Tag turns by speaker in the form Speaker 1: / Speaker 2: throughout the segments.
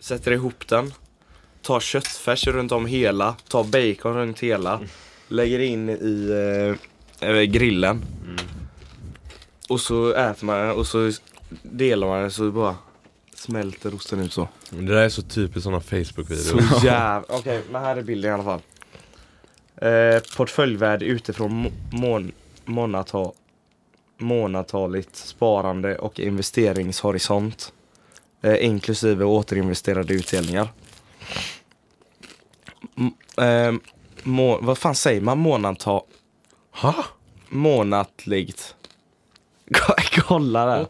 Speaker 1: sätter ihop den, tar köttfärs runt om hela, tar bacon runt hela, lägger in i eh, eh, grillen. Och så äter man den och så delar man den så bara smälter osten ut så.
Speaker 2: Men Det där är så typiskt sådana Facebook-videor.
Speaker 1: Så jävla... Okej, men här är bilden i alla fall. Eh, portföljvärde utifrån må- mån- månatal- månataligt sparande och investeringshorisont. Eh, inklusive återinvesterade utdelningar. M- eh, må- vad fan säger man månata-
Speaker 2: Ha?
Speaker 1: månatligt? Kolla där.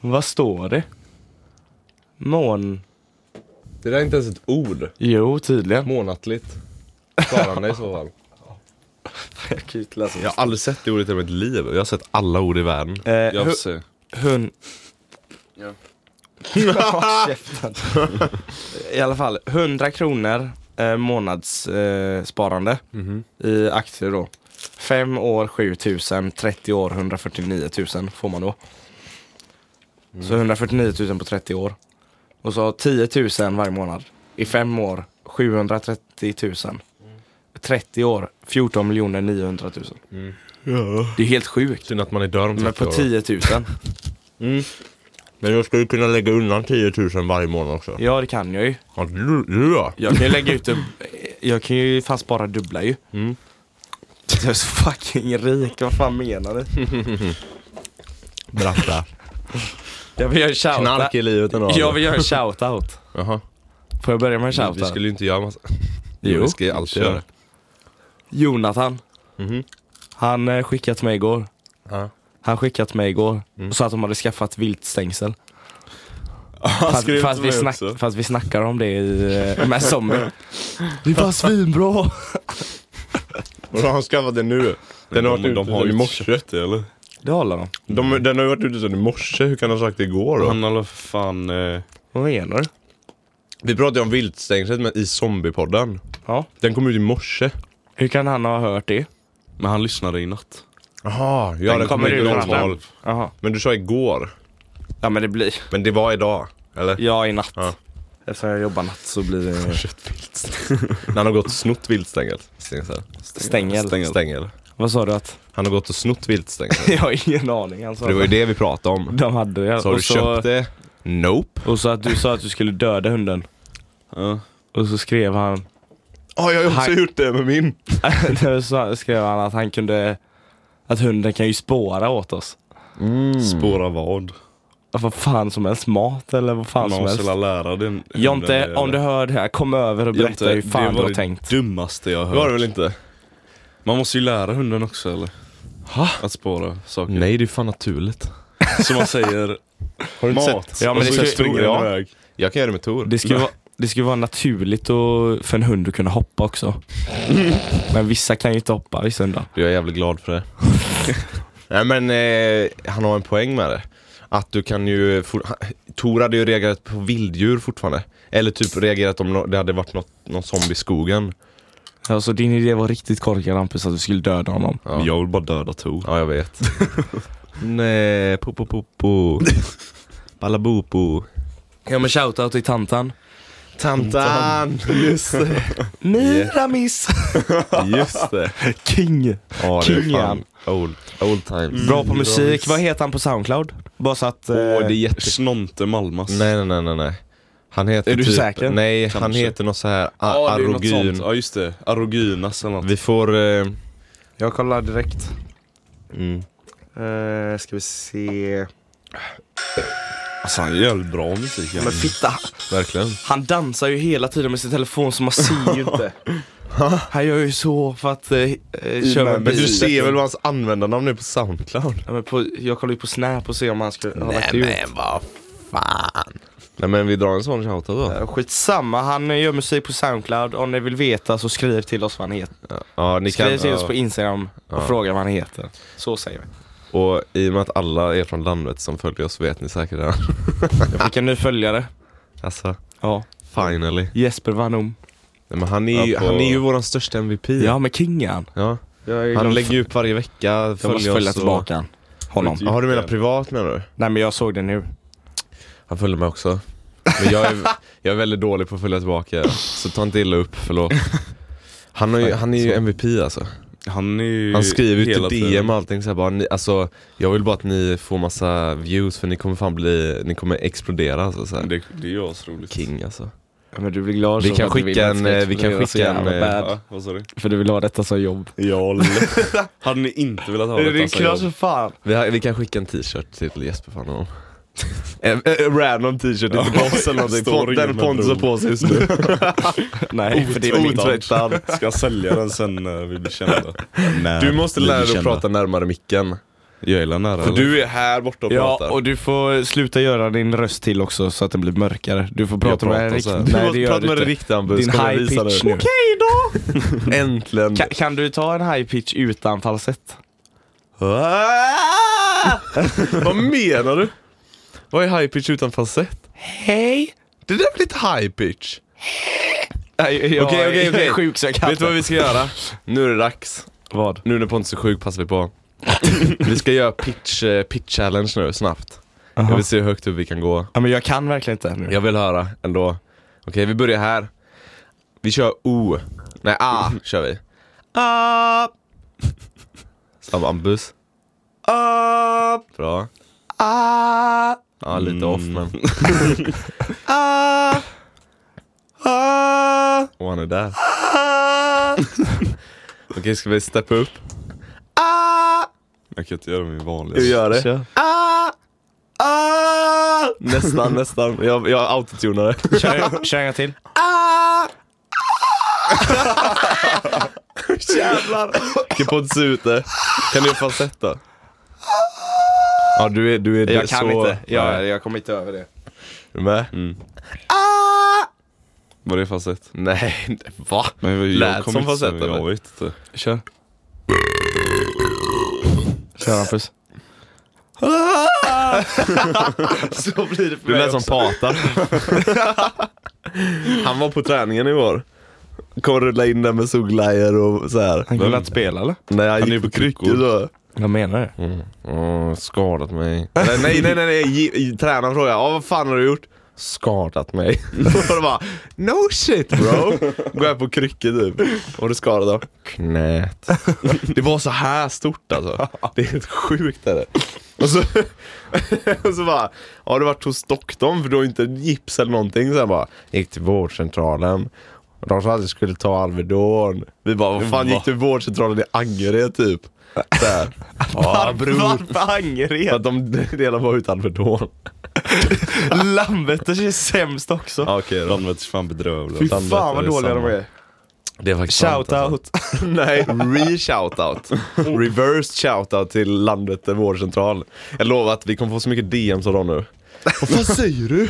Speaker 1: Vad står det? Mån...
Speaker 2: Det där är inte ens ett ord.
Speaker 1: Jo, tydligen.
Speaker 2: Månatligt. Sparande i så fall.
Speaker 1: Jag kan ju inte läsa.
Speaker 2: Jag har aldrig sett det ordet i mitt liv. Jag har sett alla ord i världen.
Speaker 1: Eh,
Speaker 3: Jag
Speaker 1: hu-
Speaker 3: får se.
Speaker 1: hun...
Speaker 3: Ja.
Speaker 1: Håll käften. I alla fall, 100 kronor eh, månadssparande eh, sparande i aktier då. 5 år 7000, 30 år 149 000 får man då. Så 149 000 på 30 år. Och så 10 000 varje månad. I 5 år 730 000. Mm. 30 år 14 900 000. Det är helt sjukt.
Speaker 2: Synd att man är död om 30
Speaker 1: Men på
Speaker 2: år.
Speaker 1: 10 000.
Speaker 2: Men jag skulle kunna lägga undan 10 000 varje månad också.
Speaker 1: Ja det kan jag ju.
Speaker 2: Ja, du, du då?
Speaker 1: Jag kan ju lägga ut en... Jag kan ju fast bara dubbla ju.
Speaker 2: Mm.
Speaker 1: Jag är så fucking rik, vad fan menar du?
Speaker 2: Bratta.
Speaker 1: Jag vill göra en shoutout.
Speaker 2: Knark i livet ändå.
Speaker 1: Jag vill göra en shoutout.
Speaker 2: Jaha.
Speaker 1: Får jag börja med en
Speaker 2: Vi- Vi
Speaker 1: shoutout?
Speaker 2: skulle ju inte göra massa...
Speaker 1: Jo.
Speaker 2: Vi ska ju alltid göra det.
Speaker 1: Jonathan. Mm-hmm.
Speaker 2: Mhm.
Speaker 1: Han eh, skickade till mig igår.
Speaker 2: Ja.
Speaker 1: Han skickade till mig igår och sa att de hade skaffat viltstängsel.
Speaker 3: Han
Speaker 1: Fast,
Speaker 3: skrev
Speaker 1: fast,
Speaker 3: till
Speaker 1: vi
Speaker 3: mig
Speaker 1: snack,
Speaker 3: också.
Speaker 1: fast vi snackar om det i eh, med zombie. Det är bara svinbra!
Speaker 2: Och då har han skaffat den nu. Den har varit
Speaker 3: de,
Speaker 2: ute
Speaker 3: de har
Speaker 2: sedan i
Speaker 3: ju
Speaker 2: morse.
Speaker 3: köpt det eller?
Speaker 1: Det håller de.
Speaker 2: De, den har ju varit ute sedan i morse. Hur kan han ha sagt det igår då?
Speaker 3: Han har för fan... Eh,
Speaker 1: Vad menar du?
Speaker 2: Vi pratade ju om viltstängslet men i zombiepodden.
Speaker 1: Ja.
Speaker 2: Den kom ut i morse.
Speaker 1: Hur kan han ha hört det?
Speaker 3: men han lyssnade i natt.
Speaker 2: Jaha, ja den,
Speaker 1: kommer ut
Speaker 2: klockan
Speaker 1: varannan.
Speaker 2: tolv.
Speaker 1: Jaha.
Speaker 2: Men du sa igår.
Speaker 1: Ja men det blir.
Speaker 2: Men det var idag, eller?
Speaker 1: Ja, i natt.
Speaker 2: Ja.
Speaker 1: Eftersom jag jobbar natt så blir det
Speaker 2: När han har gått och snott viltstängel. Stängsel.
Speaker 1: stängel.
Speaker 3: Stängel.
Speaker 2: Stängel.
Speaker 1: Vad sa du att?
Speaker 2: Han har gått och snott viltstängel.
Speaker 1: jag har ingen aning alltså.
Speaker 2: För det var ju det vi pratade om.
Speaker 1: De hade det.
Speaker 2: Så har du
Speaker 1: och, så,
Speaker 2: köpt det? Nope.
Speaker 1: och så att du sa att du skulle döda hunden.
Speaker 3: Ja.
Speaker 1: Och så skrev han,
Speaker 2: Ja, jag har ju också
Speaker 1: Han-
Speaker 2: gjort det med min.
Speaker 1: så skrev han att han kunde, att hunden kan ju spåra åt oss. Mm.
Speaker 3: Spåra vad?
Speaker 1: Vad fan som helst, mat eller vad fan som
Speaker 3: Man måste
Speaker 1: helst.
Speaker 3: väl lära den.
Speaker 1: Jonte, om du hör det här, kom över och berätta hur fan du
Speaker 3: var
Speaker 1: har
Speaker 3: det
Speaker 1: tänkt.
Speaker 3: dummaste jag har
Speaker 2: Det var
Speaker 3: hört.
Speaker 2: det väl inte?
Speaker 3: Man måste ju lära hunden också eller?
Speaker 2: Ha?
Speaker 3: Att spåra saker.
Speaker 2: Nej, det är fan naturligt.
Speaker 1: Mm.
Speaker 3: Så man säger
Speaker 2: Har du inte
Speaker 3: mat.
Speaker 2: sett? Alltså,
Speaker 1: Ja, men
Speaker 3: och
Speaker 1: det
Speaker 3: så
Speaker 1: ska-
Speaker 3: springer
Speaker 2: ja.
Speaker 3: den iväg.
Speaker 2: Jag kan göra det med Tor.
Speaker 1: Det ska, ju vara, det ska ju vara naturligt och, för en hund att kunna hoppa också. Men vissa kan ju inte hoppa, vissa hundar.
Speaker 2: Jag är jävligt glad för det. Nej men eh, han har en poäng med det. Att du kan ju... For- han- Tor hade ju reagerat på vilddjur fortfarande. Eller typ reagerat om no- det hade varit något, någon zombie i skogen.
Speaker 1: Alltså din idé var riktigt korkad Hampus, att du skulle döda honom.
Speaker 2: Ja.
Speaker 3: Jag vill bara döda Tor.
Speaker 2: Ja, jag vet. Nej, popo popo. Balabopo.
Speaker 1: Ja men shoutout till tantan.
Speaker 2: Tantan! Just det.
Speaker 1: Miramis!
Speaker 2: Just det.
Speaker 1: King!
Speaker 2: Ja, det är fan
Speaker 1: Kingen. Mm.
Speaker 2: old, old times.
Speaker 1: Bra på musik, vad heter han på Soundcloud? Bara så att... eh,
Speaker 2: Åh, det är jätte...
Speaker 3: Snonte Malmas.
Speaker 2: Nej, nej, nej, nej, nej. Han heter
Speaker 1: Är du
Speaker 2: typ,
Speaker 1: säker?
Speaker 2: Nej, han
Speaker 3: Kanske.
Speaker 2: heter något så här a-
Speaker 3: Ja, det är något
Speaker 2: arogyn.
Speaker 3: sånt. Ja just det, Arogynas eller något.
Speaker 2: Vi får... Eh,
Speaker 1: Jag kollar direkt.
Speaker 2: mm.
Speaker 1: Uh, ska vi se...
Speaker 3: Alltså han gör jävligt bra musik.
Speaker 1: Men fitta!
Speaker 2: Verkligen.
Speaker 1: Han dansar ju hela tiden med sin telefon så man ser ju inte. Han gör ju så för att eh, eh, köra en
Speaker 2: Men du
Speaker 1: bil.
Speaker 2: ser väl vad hans användarnamn är på Soundcloud?
Speaker 1: Ja, men på, jag kollar ju på Snap och ser om han skulle ha lagt ut.
Speaker 2: vad fan. Nej men vi drar en sån shoutout då.
Speaker 1: Eh, Skitsamma, han eh, gör musik på Soundcloud. Om ni vill veta så skriv till oss vad han heter.
Speaker 2: Ja, ni
Speaker 1: Skriv
Speaker 2: kan,
Speaker 1: till oss
Speaker 2: ja.
Speaker 1: på Instagram och
Speaker 2: Ja.
Speaker 1: fråga vad han heter. Så säger vi.
Speaker 2: Och i och med att alla är från landet som följer oss vet ni säkert det.
Speaker 1: Jag fick en ny följare.
Speaker 2: Alltså,
Speaker 1: Ja.
Speaker 2: finally.
Speaker 1: Jesper Vanum.
Speaker 2: Nej, men han, är ju,
Speaker 3: Ja, på-
Speaker 2: han är ju våran största MVP.
Speaker 1: Ja, med kingen.
Speaker 2: Ja. Han lägger ju upp varje vecka,
Speaker 1: Jag måste
Speaker 2: följer
Speaker 1: följa
Speaker 2: oss
Speaker 1: tillbaka han. honom.
Speaker 2: Och... Ja, har du menat privat menar du?
Speaker 1: Nej men jag såg det nu.
Speaker 2: Han följer mig också. Men jag är, jag är väldigt dålig på att följa tillbaka, så ta inte illa upp, förlåt. Han, har ju, han är ju MVP alltså.
Speaker 3: Han är ju
Speaker 2: Han skriver ju
Speaker 3: hela
Speaker 2: till
Speaker 3: tiden-
Speaker 2: DM och allting så här bara, ni, alltså, jag vill bara att ni får massa views för ni kommer fan bli, ni kommer explodera alltså, så här.
Speaker 3: Det, det är ju asroligt.
Speaker 2: King alltså.
Speaker 1: Ja, men du blir glad
Speaker 2: Vi
Speaker 1: som
Speaker 2: kan
Speaker 1: att du vill
Speaker 2: skicka
Speaker 1: att
Speaker 2: en,
Speaker 1: det ska
Speaker 2: vi kan
Speaker 1: vara så
Speaker 2: skicka en,
Speaker 1: jävla
Speaker 2: eh,
Speaker 1: bad.
Speaker 3: Ja, vad sa du?
Speaker 1: För du vill ha detta som jobb.
Speaker 3: Ja, Hade ni inte velat ha
Speaker 1: Det
Speaker 3: detta
Speaker 1: är
Speaker 3: så
Speaker 1: klart
Speaker 3: jag-
Speaker 1: som fan.
Speaker 2: Vi, har, vi kan skicka en t-shirt till Jesper fan honom. En, en random t-shirt, inte
Speaker 3: Ja,
Speaker 2: boss eller någonting.
Speaker 3: står
Speaker 2: Pont-
Speaker 3: ingen
Speaker 2: Den
Speaker 3: med
Speaker 2: Pontus har
Speaker 3: bro.
Speaker 2: på sig just nu.
Speaker 1: Nej, för det är mitt.
Speaker 2: Otvättad.
Speaker 3: Ska jag sälja den sen när vi blir kända? Nej,
Speaker 2: Du måste
Speaker 3: vi
Speaker 2: lära
Speaker 3: blir
Speaker 2: dig att
Speaker 3: kända.
Speaker 2: prata närmare micken.
Speaker 3: Jag gillar
Speaker 2: För
Speaker 3: nära eller?
Speaker 2: du är här borta och
Speaker 1: Ja,
Speaker 2: pratar.
Speaker 1: och du får sluta göra din röst till också så att den blir mörkare. Du får prata med en
Speaker 2: pratar så här.
Speaker 1: riktig... Nej, det
Speaker 2: Du
Speaker 1: gör
Speaker 2: pratar
Speaker 1: du
Speaker 2: med en
Speaker 1: inte.
Speaker 2: riktig ambus,
Speaker 1: Din high pitch nu.
Speaker 2: då! Äntligen!
Speaker 1: Kan, kan du ta en high pitch utan falsett?
Speaker 2: Ah! Vad menar du? Vad är high pitch utan falsett?
Speaker 1: Hej!
Speaker 2: Det där blir inte high pitch.
Speaker 1: Okej,
Speaker 2: Okej, okej, okej.
Speaker 1: är sjuk så jag kan
Speaker 2: Vet du vad vi ska göra? Nu är det dags.
Speaker 1: Vad?
Speaker 2: Nu när Pontus är sjuk passar vi på. vi ska göra pitch, eh, pitch challenge nu, snabbt. Jag vill se hur högt upp vi kan gå.
Speaker 1: Ja, men jag kan verkligen inte nu.
Speaker 2: Jag vill höra ändå. Okej, vi börjar här. Vi kör O. Nej, A kör vi. A. Sam Ambus. A. Mm. Bra.
Speaker 1: Ah,
Speaker 2: Ja, lite off men.
Speaker 1: ah, ah,
Speaker 2: Och han är där.
Speaker 1: ah,
Speaker 2: Okej, ska vi steppa upp?
Speaker 1: ah.
Speaker 3: Jag kan inte göra min vanliga.
Speaker 2: Hur gör det?
Speaker 1: Kör. Ah, ah.
Speaker 2: Nästan, nästan. Jag, jag autotunar det.
Speaker 1: Kör, kör en gång till.
Speaker 2: Jävlar! Vilken podd ser ut det. Kan du göra falsett då? Ja, du är, du är
Speaker 1: Jag kan
Speaker 2: så...
Speaker 1: inte. Jag,
Speaker 2: Nej.
Speaker 1: jag kommer inte över det.
Speaker 2: Är du med?
Speaker 3: Var det falsett?
Speaker 2: Nej, va?
Speaker 3: Men jag,
Speaker 2: Lät
Speaker 3: kom
Speaker 2: som
Speaker 3: inte så-
Speaker 2: falsett, eller?
Speaker 3: Jag vet inte.
Speaker 1: Kör. Kör Hampus. Så blir det för
Speaker 2: Du
Speaker 1: mig
Speaker 2: lät som
Speaker 1: också.
Speaker 2: Pata. Han var på träningen igår. Kom och rulla in den med solglajjor och så här.
Speaker 1: Han kunde inte spela eller?
Speaker 2: Nej, han,
Speaker 3: är
Speaker 2: gick
Speaker 3: på
Speaker 2: på kryckor då.
Speaker 1: Vad menar du?
Speaker 2: Mm, skadat mig. Nej, nej, nej, nej. nej. Ge- i- Tränaren frågade ah, vad fan har du gjort? Skadat mig. och då bara, no shit bro. Går jag på kryckor typ. Och har du skadat då? Knät. det var så här stort alltså. Det är helt sjukt är det. Och så, och så bara, har du varit hos doktorn för du har ju inte gips eller någonting? Så jag bara, gick till vårdcentralen. De sa att jag skulle ta Alvedon. Vi bara, vad fan
Speaker 3: Va?
Speaker 2: gick du till vårdcentralen i Angered typ? Så här. Ja, bror.
Speaker 1: Varför
Speaker 2: För
Speaker 1: Angered?
Speaker 2: att de delar var utan Alvedon.
Speaker 1: Landvetters är sämst också.
Speaker 2: Ja, okej då.
Speaker 3: Landvetters fan bedrövliga.
Speaker 1: Fy
Speaker 2: Landvetter
Speaker 1: fan vad
Speaker 2: är
Speaker 1: dåliga de
Speaker 2: samma.
Speaker 1: är.
Speaker 2: Det är faktiskt
Speaker 1: Shout out.
Speaker 2: Nej, re-shoutout. Reverse shoutout till Landvetter vårdcentral. Jag lovar att vi kommer få så mycket DMs av dem nu. Vad fan säger du?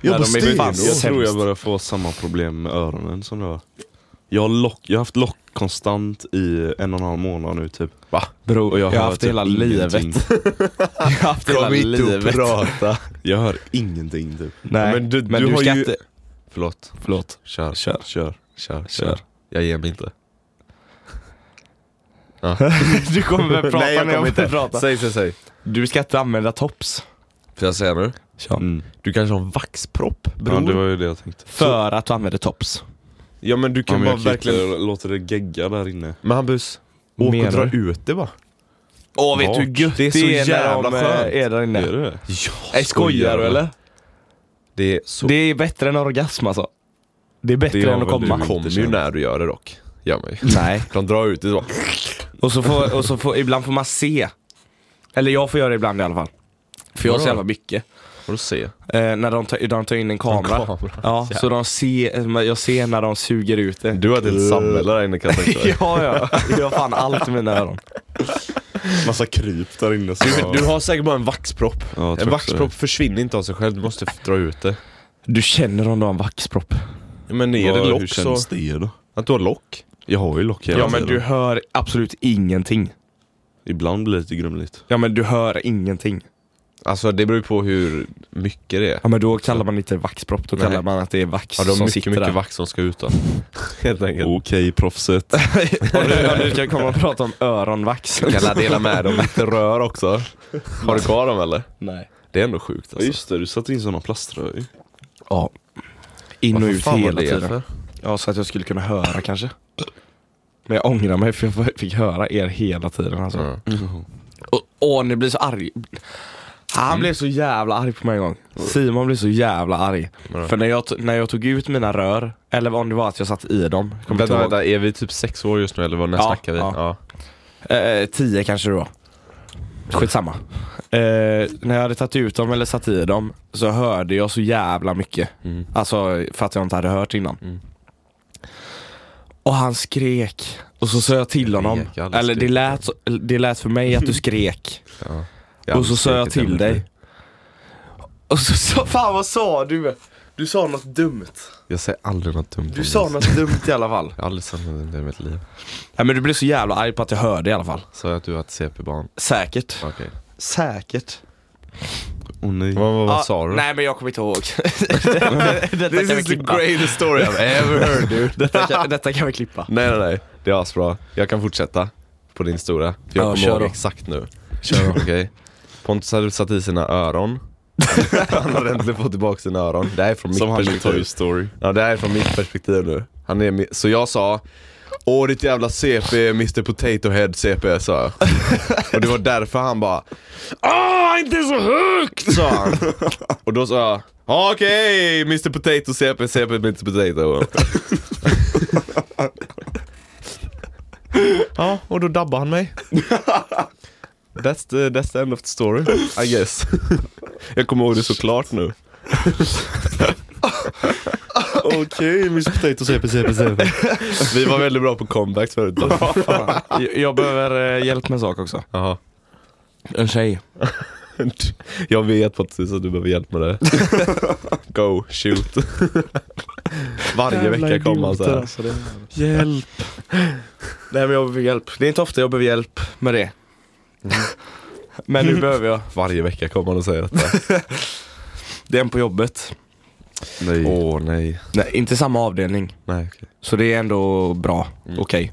Speaker 2: Jag
Speaker 1: Nej, de är fan
Speaker 3: Jag
Speaker 1: Sämst.
Speaker 3: tror jag börjar få samma problem med öronen som du har. Jag har, lock, jag har haft lock konstant i en och en halv månad nu typ.
Speaker 2: Va?
Speaker 1: Bro,
Speaker 3: Och
Speaker 1: jag har
Speaker 3: hör
Speaker 1: haft det
Speaker 3: typ
Speaker 1: hela
Speaker 3: ingenting.
Speaker 1: livet. Jag har haft det hela
Speaker 2: Kom hit och
Speaker 1: livet.
Speaker 2: prata.
Speaker 3: Jag hör ingenting typ.
Speaker 1: Nej,
Speaker 2: Men
Speaker 1: men
Speaker 2: du-
Speaker 1: du,
Speaker 2: du har
Speaker 1: ska
Speaker 2: ju-
Speaker 1: inte...
Speaker 2: Förlåt.
Speaker 1: Förlåt.
Speaker 2: Kör.
Speaker 1: Kör.
Speaker 2: Kör. Kör.
Speaker 1: Kör.
Speaker 2: Jag ger mig inte.
Speaker 1: Du kommer väl prata
Speaker 2: Nej, jag
Speaker 1: när
Speaker 2: kommer
Speaker 1: jag börjar
Speaker 2: inte.
Speaker 1: prata.
Speaker 2: Säg, säg, säg.
Speaker 1: Du ska inte använda tops.
Speaker 2: Får jag säga nu?
Speaker 1: Kör.
Speaker 3: Mm.
Speaker 2: Du kanske har en vaxpropp, bror.
Speaker 3: Ja det var ju det jag tänkte.
Speaker 1: För att du använder tops.
Speaker 2: ja men du
Speaker 3: Ja,
Speaker 2: kan
Speaker 3: men
Speaker 2: bara
Speaker 3: jag kan
Speaker 2: verkligen...
Speaker 3: inte låta det gegga där inne.
Speaker 2: Men Hampus, åk
Speaker 1: Menar
Speaker 2: och dra
Speaker 1: du?
Speaker 2: ut det bara.
Speaker 1: Åh,
Speaker 2: vet du hur gött det är när de, eh,
Speaker 1: är där inne?
Speaker 3: Är det
Speaker 1: Nej, skojar du eller?
Speaker 2: Det är så
Speaker 1: Det är bättre än orgasm alltså. Det är bättre
Speaker 3: Det har
Speaker 1: än att
Speaker 3: väl du
Speaker 1: komma.
Speaker 3: kommit.
Speaker 2: kommer ju när du gör det dock. Gör man ju.
Speaker 1: Nej.
Speaker 2: De drar ut det så.
Speaker 1: Och så får, och så får, ibland får man se. Eller jag får göra det ibland i alla fall. För jag har så
Speaker 2: Vadå?
Speaker 1: jävla mycket.
Speaker 2: Får du se.
Speaker 1: Eh, när de tar, de tar in en kamera. Ja, så de ser, jag ser när de suger ut det.
Speaker 2: Du har ett helt samhälle där inne kan jag tänka mig.
Speaker 1: ja, ja. Jag har fan allt i mina öron.
Speaker 3: Massa kryp där inne. som jag-
Speaker 2: Du, du har säkert bara en vaxpropp.
Speaker 3: Ja, jag tror
Speaker 2: en
Speaker 3: också det.
Speaker 2: vaxpropp försvinner inte av sig själv, du måste f- dra ut det.
Speaker 1: Du känner om du har en vaxpropp.
Speaker 2: Ja, Men är
Speaker 3: Vad-
Speaker 2: det
Speaker 3: Hur
Speaker 2: lock så...
Speaker 3: känns det då?
Speaker 2: Att du har lock?
Speaker 3: Jag har ju lock hela
Speaker 1: Ja men
Speaker 3: tiden.
Speaker 1: du hör absolut ingenting.
Speaker 3: Ibland blir det lite grumligt.
Speaker 1: Ja men du hör ingenting.
Speaker 2: Alltså det beror ju på hur mycket det är.
Speaker 1: Ja men då kallar man inte vaxpropp, då
Speaker 2: Nej.
Speaker 1: kallar man att det är vax
Speaker 2: Ja, du har
Speaker 1: som
Speaker 2: mycket,
Speaker 1: sitter
Speaker 2: mycket
Speaker 1: där.
Speaker 2: vax som ska ut då. Helt enkelt.
Speaker 3: Okej proffset.
Speaker 1: Om du, om du ska komma och prata om öronvax.
Speaker 2: Kan jag dela med dem lite rör också? Har du kvar dem eller?
Speaker 1: Nej.
Speaker 2: Det är ändå sjukt
Speaker 3: Ja
Speaker 2: alltså.
Speaker 3: just det, du satte in såna plaströr ju.
Speaker 1: Ja. In och
Speaker 2: Vad
Speaker 1: ut
Speaker 2: fan var
Speaker 1: hela
Speaker 2: det
Speaker 1: tiden.
Speaker 2: för?
Speaker 1: Ja, så att jag skulle kunna höra kanske. Men jag ångrar mig för jag fick höra er hela tiden alltså.
Speaker 2: Ja.
Speaker 3: Mm.
Speaker 1: Och, åh, ni blir så arg. Han blev så jävla arg på mig en gång. Simon blev så jävla arg.
Speaker 2: Vadå?
Speaker 1: För när jag, to- när jag tog ut mina rör, eller om det var att jag satt i dem, kommer
Speaker 2: Vänta,
Speaker 1: inte ihåg.
Speaker 2: vänta, är vi typ sex år just nu eller vad när
Speaker 1: Ja,
Speaker 2: snackar vi?
Speaker 1: ja.
Speaker 2: Ja.
Speaker 1: Eh, tio kanske det var. Skitsamma. Eh, när jag hade tagit ut dem eller satt i dem så hörde jag så jävla mycket.
Speaker 2: Mm.
Speaker 1: Alltså för att jag inte hade hört innan.
Speaker 2: Mm.
Speaker 1: Och han skrek. Och så sa jag till
Speaker 2: Jag
Speaker 1: honom.
Speaker 2: skrek, jag hade
Speaker 1: Eller det
Speaker 2: skrikit.
Speaker 1: lät, så, det lät för mig att du skrek.
Speaker 2: Ja.
Speaker 1: och så sa jag till dig. Och så sa, fan vad sa du? Du sa något dumt.
Speaker 2: Jag säger aldrig något dumt
Speaker 1: Du sa något dumt i alla fall.
Speaker 2: Jag har aldrig sagt något dumt i mitt liv.
Speaker 1: Nej men du blev så jävla arg på att jag hörde i alla fall.
Speaker 2: Sa jag att du var ett CP-barn?
Speaker 1: Säkert.
Speaker 2: Okej.
Speaker 1: Säkert.
Speaker 3: Åh nej.
Speaker 2: Vad, vad, vad
Speaker 1: Ja,
Speaker 2: sa du?
Speaker 1: Nej men jag kommer inte ihåg. detta, kan vi klippa.
Speaker 2: greatest story I've ever heard dude.
Speaker 1: Detta, kan, detta kan vi klippa.
Speaker 2: nej nej nej, det är asbra. Jag kan fortsätta på din stora. För
Speaker 1: Ja,
Speaker 2: jag kommer
Speaker 1: kör
Speaker 2: ihåg
Speaker 1: då.
Speaker 2: exakt nu. Okej. Pontus hade satt i sina öron. Han hade äntligen fått tillbaka sina öron. Det här är från mitt
Speaker 3: Som han i
Speaker 2: perspektiv.
Speaker 3: Toy Story.
Speaker 2: Ja, det här är från mitt perspektiv nu. Han är mi- så jag sa Åh ditt jävla CP, Mr Potato Head CP sa jag. Och det var därför han bara Åh inte så högt sa han. Och då sa jag "Ja, Okej Mr Potato CP, CP Mr Potato. ja, och då dabbade han mig. That's the, that's the end of the story, I guess. jag kommer ihåg det så klart nu.
Speaker 3: Okej, Miss Potato CP CP CP.
Speaker 2: Vi var väldigt bra på comebacks förut.
Speaker 1: Jag, jag behöver eh, hjälp med en sak också.
Speaker 2: Jaha.
Speaker 1: En tjej.
Speaker 2: Jag vet precis att du behöver hjälp med det. Go, shoot. Varje vecka kommer han såhär.
Speaker 1: Hjälp. Nej men jag behöver hjälp. Det är inte ofta jag behöver hjälp med det. men nu behöver jag.
Speaker 2: Varje vecka kommer han och säger detta.
Speaker 1: Det är en på jobbet.
Speaker 3: Nej.
Speaker 2: Åh nej.
Speaker 1: Nej, inte samma avdelning.
Speaker 2: Nej okej.
Speaker 1: Så det är ändå bra.
Speaker 2: Mm.
Speaker 1: Okej.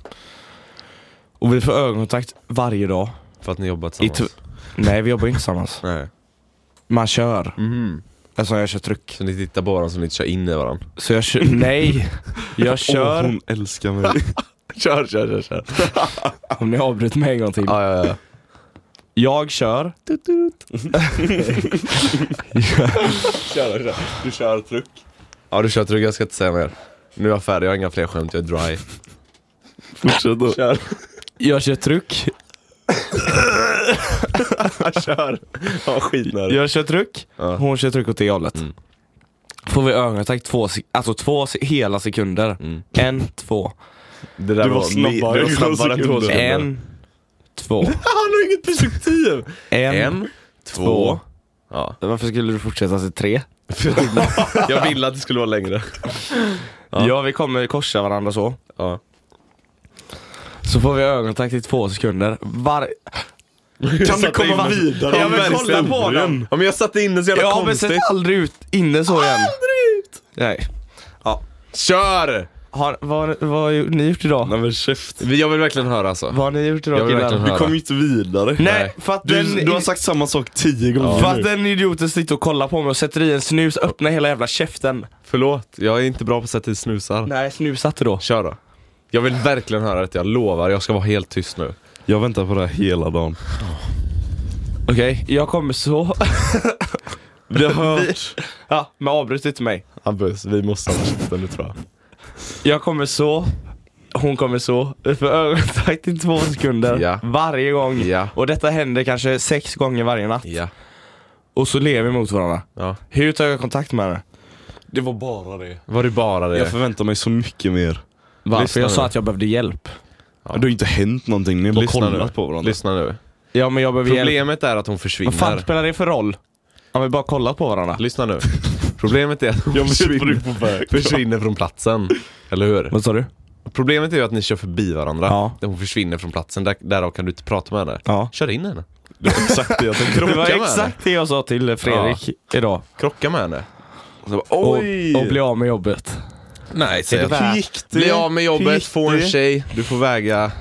Speaker 1: Och vi får ögonkontakt varje dag.
Speaker 2: För att ni jobbar
Speaker 1: I
Speaker 2: tillsammans?
Speaker 1: Nej vi jobbar inte tillsammans.
Speaker 2: Nej.
Speaker 1: Man kör.
Speaker 3: Mhm.
Speaker 2: Mm.
Speaker 1: Alltså jag kör tryck.
Speaker 2: Så ni tittar på varandra så ni inte kör in i varandra?
Speaker 1: Så jag kör, nej! Jag
Speaker 3: Åh,
Speaker 1: kör,
Speaker 3: hon älskar mig.
Speaker 2: Kör, kör, kör, kör.
Speaker 1: om ni avbryter mig en gång till.
Speaker 2: Ja, ja, ja.
Speaker 1: Jag kör,
Speaker 2: Kör, kör. Du kör truck. Ja du kör truck, jag ska inte säga mer. Nu är jag färdig, jag har inga fler skämt, jag är dry.
Speaker 3: Fortsätt då.
Speaker 2: Kör.
Speaker 1: jag kör tryck,
Speaker 2: kör. Ja, skitnödig.
Speaker 1: jag kör tryck,
Speaker 2: Ja.
Speaker 1: hon kör tryck åt det hållet.
Speaker 2: Mm.
Speaker 1: Får vi ögonkontakt två, sek- alltså två se- hela sekunder.
Speaker 2: Mm.
Speaker 1: En, två.
Speaker 2: Det där
Speaker 3: Du var snabbare
Speaker 2: mi- Du
Speaker 3: än
Speaker 2: var snabbare än två
Speaker 3: sekunder.
Speaker 2: sekunder.
Speaker 1: En, två.
Speaker 2: Han har inget perspektiv!
Speaker 1: En, två.
Speaker 2: Ja.
Speaker 1: Varför skulle du fortsätta till tre?
Speaker 2: Jag ville att det skulle vara längre. Ja.
Speaker 1: Ja. vi kommer korsa varandra så.
Speaker 2: Ja.
Speaker 1: Så får vi ögonkontakt i två sekunder. Var...
Speaker 3: Kan du
Speaker 2: satte in
Speaker 3: komma
Speaker 2: den.
Speaker 3: vidare?
Speaker 1: Ja, men
Speaker 3: Verkligen.
Speaker 1: kolla på den.
Speaker 2: Ja men jag satte in den så jävla
Speaker 1: Jag har väl
Speaker 2: konstigt. Ah!
Speaker 1: sett aldrig ut inne så igen. Aldrig ut! Nej.
Speaker 2: Kör!
Speaker 1: Har, vad, vad har ni gjort idag?
Speaker 3: Nej men käft.
Speaker 2: Jag vill verkligen höra alltså.
Speaker 1: Vad har ni gjort
Speaker 2: Jag
Speaker 1: idag
Speaker 2: vill verkligen
Speaker 1: killar?
Speaker 2: höra.
Speaker 3: Du kom ju inte vidare.
Speaker 1: Nej, för att, den,
Speaker 3: Du, du har sagt samma sak tio gånger
Speaker 1: för att
Speaker 3: nu.
Speaker 1: den idioten sitter och kollar på mig och sätter i en snus, öppnar hela jävla käften.
Speaker 2: Förlåt, jag är inte bra på att sätta i snusar.
Speaker 1: Nej, snusatte då.
Speaker 2: Kör då. Jag vill verkligen höra det, jag lovar. Jag ska vara helt tyst nu.
Speaker 3: Jag väntar på det här hela dagen.
Speaker 1: Okej, jag kommer så.
Speaker 3: Vi har hört.
Speaker 1: Ja, men avbryt inte mig.
Speaker 2: Hampus, vi måste ha käften nu tror jag.
Speaker 1: Jag kommer så. Hon kommer så. Vi får ögonkontakt i två sekunder.
Speaker 2: Ja.
Speaker 1: Varje gång.
Speaker 2: Ja.
Speaker 1: Och detta händer kanske sex gånger varje natt.
Speaker 2: Ja.
Speaker 1: Och så lever vi mot varandra.
Speaker 2: ja.
Speaker 1: Hur tar jag kontakt med henne?
Speaker 3: Det var bara det.
Speaker 2: Var det bara det?
Speaker 3: Jag förväntar mig så mycket mer.
Speaker 1: Varför?
Speaker 2: Lyssna
Speaker 1: Jag
Speaker 2: nu.
Speaker 1: sa att jag behövde hjälp.
Speaker 2: Ja.
Speaker 3: Det har ju inte hänt någonting, ni har bara
Speaker 2: Lyssna
Speaker 3: kollat
Speaker 2: nu.
Speaker 3: på varandra.
Speaker 2: Lyssna nu.
Speaker 1: Ja, men jag behöver hjälp.
Speaker 2: Problemet är att hon försvinner.
Speaker 1: Vad fan spelar det för roll? Om vi bara kollat på varandra.
Speaker 2: Lyssna nu. Problemet är att hon
Speaker 3: Jag vet vad du
Speaker 2: försvinner,
Speaker 3: är på väg.
Speaker 2: försvinner från platsen. Eller hur?
Speaker 1: Vad sa du?
Speaker 2: Problemet är ju att ni kör förbi varandra.
Speaker 1: Ja.
Speaker 2: Hon försvinner från platsen, Där, därav kan du inte prata med henne.
Speaker 1: Ja.
Speaker 2: Kör in henne.
Speaker 3: Det var exakt det jag tänkte.
Speaker 2: Krocka
Speaker 1: Det var
Speaker 2: med henne.
Speaker 1: exakt det jag sa till Fredrik idag.
Speaker 2: Krocka med henne.
Speaker 3: Och så bara,
Speaker 1: Och,
Speaker 3: Oj!
Speaker 1: och bli av med jobbet.
Speaker 2: Nej, säg
Speaker 1: det
Speaker 2: att-
Speaker 1: värt
Speaker 3: Hur gick det?
Speaker 2: Bli av med
Speaker 3: Hur
Speaker 2: jobbet,
Speaker 3: gick
Speaker 2: få en
Speaker 3: det?
Speaker 2: tjej, du får väga.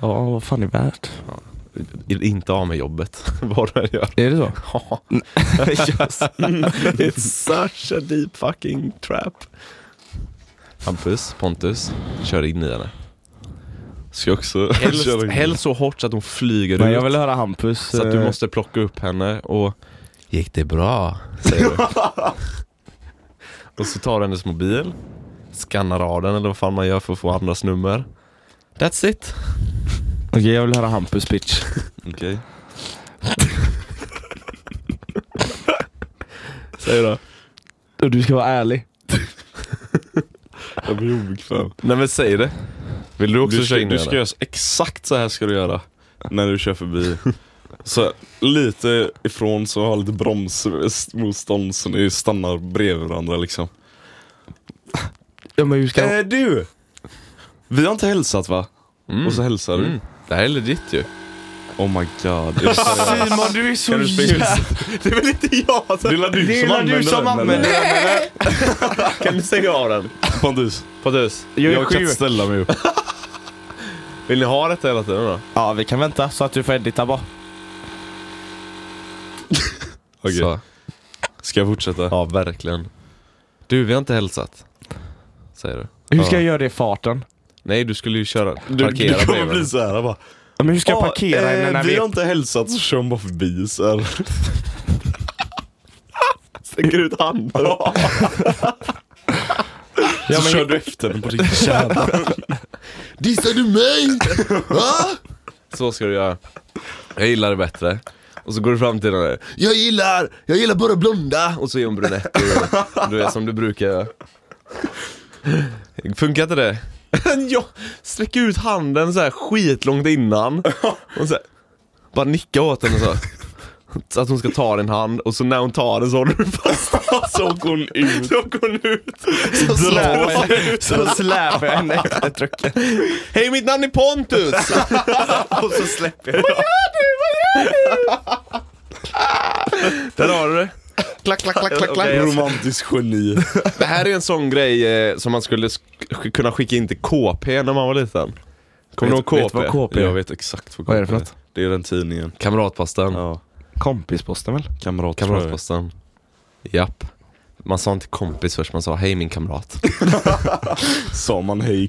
Speaker 1: Ja, vad fan är värt?
Speaker 2: inte av med jobbet. Vad du än gör.
Speaker 1: Är det så?
Speaker 2: Ja. It's such a deep fucking trap. Hampus, Pontus, kör in i henne.
Speaker 3: Ska jag också
Speaker 2: Helst,
Speaker 3: köra in?
Speaker 2: helst så hårt så att hon flyger
Speaker 1: Men
Speaker 2: ut.
Speaker 1: jag vill höra Hampus.
Speaker 2: Så att du
Speaker 1: eh,
Speaker 2: måste plocka upp henne och Gick det bra? Säger du. och så tar du hennes mobil, skannar av den eller vad fan man gör för att få andras nummer. That's it.
Speaker 1: Okej, jag vill höra Hampus bitch.
Speaker 3: Okej.
Speaker 2: Säger du.
Speaker 1: Och du ska vara ärlig.
Speaker 3: Jag blir obekväm.
Speaker 2: Nej men säg det. Vill du också
Speaker 3: Du ska,
Speaker 2: köra in
Speaker 3: du
Speaker 2: i
Speaker 3: ska
Speaker 2: henne?
Speaker 3: göra så- exakt så här ska du göra. När du kör förbi. Så lite ifrån så har lite bromsmotstånd så ni stannar bredvid varandra liksom.
Speaker 1: Ja men hur ska...
Speaker 3: Eh, du! Vi har inte hälsat va?
Speaker 2: Mm.
Speaker 3: Och så hälsar du.
Speaker 2: Mm. Det här är legit ju.
Speaker 3: Oh my god. Är det seriöst?
Speaker 1: Simon du är så
Speaker 3: Kan du spela-
Speaker 1: Det är väl inte jag?
Speaker 3: Det är väl du som använder den, eller?
Speaker 1: den?
Speaker 2: Kan du stänga av den?
Speaker 3: Pontus,
Speaker 2: Pontus,
Speaker 1: Jag är
Speaker 3: jag kan
Speaker 1: sjuk.
Speaker 3: inte ställa mig upp.
Speaker 2: vill ni ha detta hela tiden då?
Speaker 1: Ja vi kan vänta så att du får edita bara.
Speaker 3: Okej,
Speaker 2: Så.
Speaker 3: ska jag fortsätta?
Speaker 2: Ja, verkligen. Du, vi har inte hälsat. Säger du.
Speaker 1: Hur ska
Speaker 2: Ja.
Speaker 1: jag göra det i farten?
Speaker 2: Nej, du skulle ju köra,
Speaker 3: Du, du
Speaker 2: parkera
Speaker 3: kommer
Speaker 2: bredvid
Speaker 3: bli
Speaker 2: den.
Speaker 3: så här bara.
Speaker 1: Ja, Men hur ska jag
Speaker 3: "Ja,
Speaker 1: parkera henne när
Speaker 3: vi
Speaker 1: eh, vi...
Speaker 3: har inte hälsat så kör hon bara förbi så här. Sträcker ut handen.
Speaker 1: Ja,
Speaker 3: så
Speaker 1: men-
Speaker 3: kör du efter den på din kärna.
Speaker 2: Dissar du mig? så ska du göra. Jag gillar det bättre. Och så går du fram till den där. Jag gillar, jag gillar bara blonda. Och så är hon brunett. och- Du är som du brukar göra. Funkar inte det? jag sträcker ut handen så här skitlångt innan. Och så här, bara nicka åt henne så. Så att hon ska ta din hand och så när hon tar den så håller du fast
Speaker 3: Så åker hon ut.
Speaker 2: Så går hon ut.
Speaker 1: Så
Speaker 2: drar
Speaker 1: släpar jag- Så släpar jag henne efter trucken.
Speaker 2: Hej mitt namn är Pontus!
Speaker 1: Och så släpper jag.
Speaker 2: Där har du det. Klack, klack, klack, klack, klack.
Speaker 3: Romantisk geni.
Speaker 2: Det här är en sån grej eh, som man skulle sk- kunna skicka in till KP när man var liten. Kommer du ihåg
Speaker 1: Vet- vet
Speaker 2: KP?
Speaker 1: vad KP?
Speaker 3: Jag vet exakt vad
Speaker 1: Vad är det för något?
Speaker 3: Det är den tidningen.
Speaker 2: Kamratposten.
Speaker 3: Ja,
Speaker 1: Kompisposten väl?
Speaker 3: kamrat.
Speaker 2: Kamratposten. Japp. Man sa inte kompis först, man sa hej min kamrat.
Speaker 3: Sa man hej